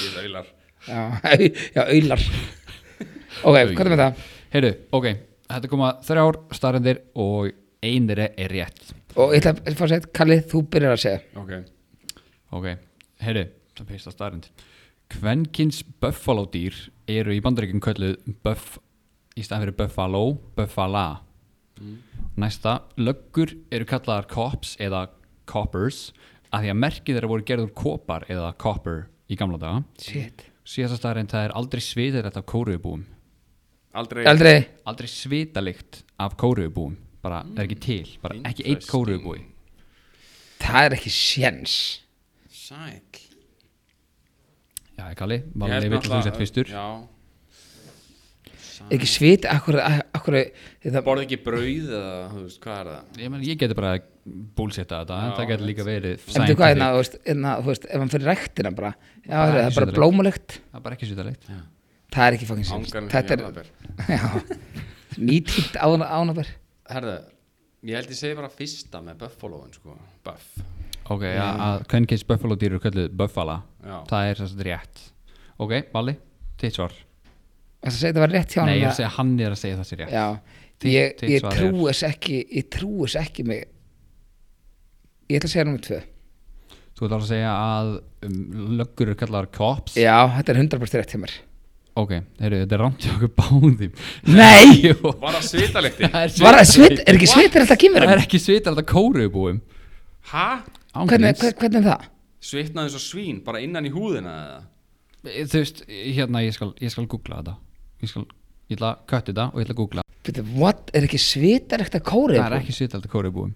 Speaker 3: Ég er auðlar
Speaker 1: Já, já, auðlar Ok, hvað er með það?
Speaker 2: Heyrðu, ok, þetta koma þrjár starrendir og einir er rétt
Speaker 1: Og ég ætla að fá að segja, Kalli, þú byrjar að segja
Speaker 3: Ok,
Speaker 2: Ok, heyrðu, það fyrsta starrend Kvenkins buffalo dýr eru í bandaríkjum kölluð buff í staðan fyrir buffalo, buffala
Speaker 3: Mm.
Speaker 2: Næsta, löggur eru kallaðar cops eða coppers af því að merkið þeirra voru gerður kopar eða copper í gamla daga
Speaker 1: Shit
Speaker 2: Síðasta starrend það er aldrei sviðir þetta af kóruðbúum
Speaker 3: aldrei
Speaker 1: Aldrei
Speaker 2: aldrei svitalikt af kóruðbúum bara, það er ekki til, bara ekki einn
Speaker 3: Mm. Interesting.
Speaker 2: kóruðbúi
Speaker 1: Það er ekki séns
Speaker 3: Sæk
Speaker 2: Já, ég kalli, var leifir til þú sett fyrstur
Speaker 3: Já
Speaker 1: Ekki svit, akkur, akkur það,
Speaker 3: Borð ekki brauð eða, þú veist, hvað er það?
Speaker 2: Ég, meni, ég geti bara búlsetta þetta, en
Speaker 3: Já,
Speaker 2: það geti líka verið
Speaker 1: En þú hvað
Speaker 2: scientific.
Speaker 1: hérna, þú veist, hérna, þú veist Ef hann fyrir rektina bara Já,
Speaker 2: Bara
Speaker 1: það er
Speaker 2: ekki
Speaker 1: bara
Speaker 2: svitalykt.
Speaker 1: blómulegt
Speaker 2: Það er bara ekki svitalikt
Speaker 1: Það er ekki fangin séns
Speaker 3: Ángan
Speaker 1: Þetta er, já Nýtínt ánaber
Speaker 3: Herðu, ég held ég segi bara fyrsta með buffaloen, sko Buff
Speaker 2: Ok, já, að kvenkins buffalo dýr eru kölluð buffala
Speaker 3: Já.
Speaker 2: Það er þess að rétt Ok, Valli, þitt svar
Speaker 1: Það segja þetta var rétt hjá hann
Speaker 2: Nei, ég er að segja hann er að segja það sér rétt
Speaker 1: Já,
Speaker 2: Þitt-
Speaker 1: ég,
Speaker 2: þitt
Speaker 1: ég
Speaker 2: svar
Speaker 1: trúi þess ekki Ég trúi þess ekki mig Ég ætla að segja nummer tvö
Speaker 2: Þú ert alveg að segja að um, löggur eru kallar cops
Speaker 1: Já, þetta er 100% rétt hjá mér
Speaker 2: Ok, heyrðu, þetta er rámt hjá okkur báðum
Speaker 1: Nei!
Speaker 2: Jú.
Speaker 3: Var það svitalikti?
Speaker 2: Það er
Speaker 1: Var það svit,
Speaker 2: svitalykt.
Speaker 1: er ekki svit er alltaf
Speaker 2: Það
Speaker 1: kýmurum?
Speaker 2: er ekki svitar þetta kóruðbúum
Speaker 3: Ha?
Speaker 1: Hvernig, hver, hvernig er það?
Speaker 3: Svitnaði eins og svín, bara innan í húðina eða?
Speaker 2: Þú veist, hérna ég skal, ég skal googla þetta Ég skal, ég ætla að kötti þetta og ég ætla að googla
Speaker 1: Byrju, what, er ekki svitarlegt að kóri?
Speaker 2: Það er ekki svitar þetta kóruðbúum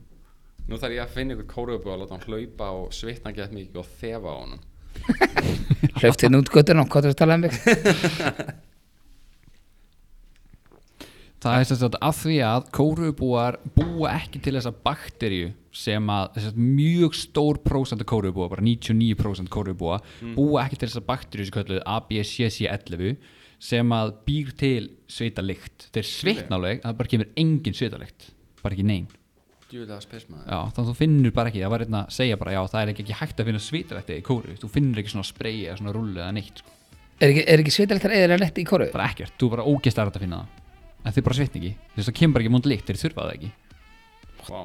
Speaker 3: Nú þarf ég að finna ykkur kóruðubú að láta hann hlaupa og svitna gett mikið og þefa á honum
Speaker 1: Hlauft hérna út göttun og hvað er það að tala um mig?
Speaker 2: Það er sem sagt að því að kóruðbúar búa ekki til þessa bakteríu sem að sem sagt, mjög stór prósent af kóruðbúa, bara 99% kóruðbúa búa ekki til þessa bakteríu sem kalluðu ABCC11 sem að býr til svitalikt Þeir svitnáleg, það bara kemur engin svitalikt bara ekki neinn
Speaker 3: Djúlega spesmaður
Speaker 2: Já, þannig að þú finnur bara ekki, það var hérna að segja bara já, það er ekki, ekki hægt að finna svitarætti í kóru þú finnur ekki svona spreyi eða svona rullu eða neitt sko.
Speaker 1: Er ekki, er ekki svitarlegt að eða lett í kóri?
Speaker 2: bara ekkert, þú er bara ógeist að finna það en þið bara svitni ekki, þú veist það kemur bara ekki múnd líkt þeir þurfa það ekki,
Speaker 3: Vá.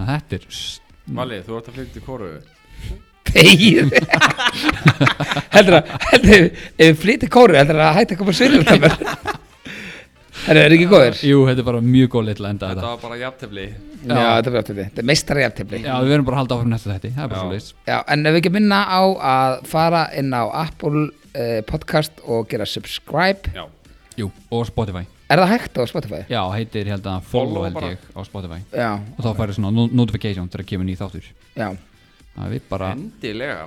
Speaker 2: þannig að þetta er s-
Speaker 3: Valið, þú ert að flytja til kóruðu
Speaker 1: Pegið Heldur að, heldur að, ef við flytir kóri, heldur að hætti að koma svitarlegt að mér Heldur, er ekki góður?
Speaker 2: Jú, þetta er bara mjög góð litla enda
Speaker 3: Þetta
Speaker 2: þetta
Speaker 3: var bara jafntefli
Speaker 1: Já, þetta er aftöfli, þetta er meistari aftöfli
Speaker 2: Já, við verðum bara að halda áfram næsta þetta, það er bara
Speaker 3: Já.
Speaker 2: svo
Speaker 1: Já, en ef við ekki minna á að fara inn á Apple eh, podcast og gera subscribe
Speaker 3: Já
Speaker 2: Jú, og Spotify,
Speaker 1: Er það hægt á Spotify?
Speaker 2: já, heitir held að follow
Speaker 3: Follow
Speaker 2: held
Speaker 3: bara.
Speaker 2: ég á Spotify
Speaker 1: Já,
Speaker 2: og þá færi svona no- notification þegar kemur nýð þáttur
Speaker 1: já
Speaker 2: þannig að við bara,
Speaker 3: Endilega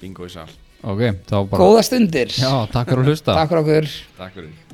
Speaker 3: Bingo í sal
Speaker 2: ok, þá bara
Speaker 1: Góða stundir
Speaker 2: Já, takk fyrir að hlusta
Speaker 1: Takk fyrir okkur
Speaker 3: Takk fyrir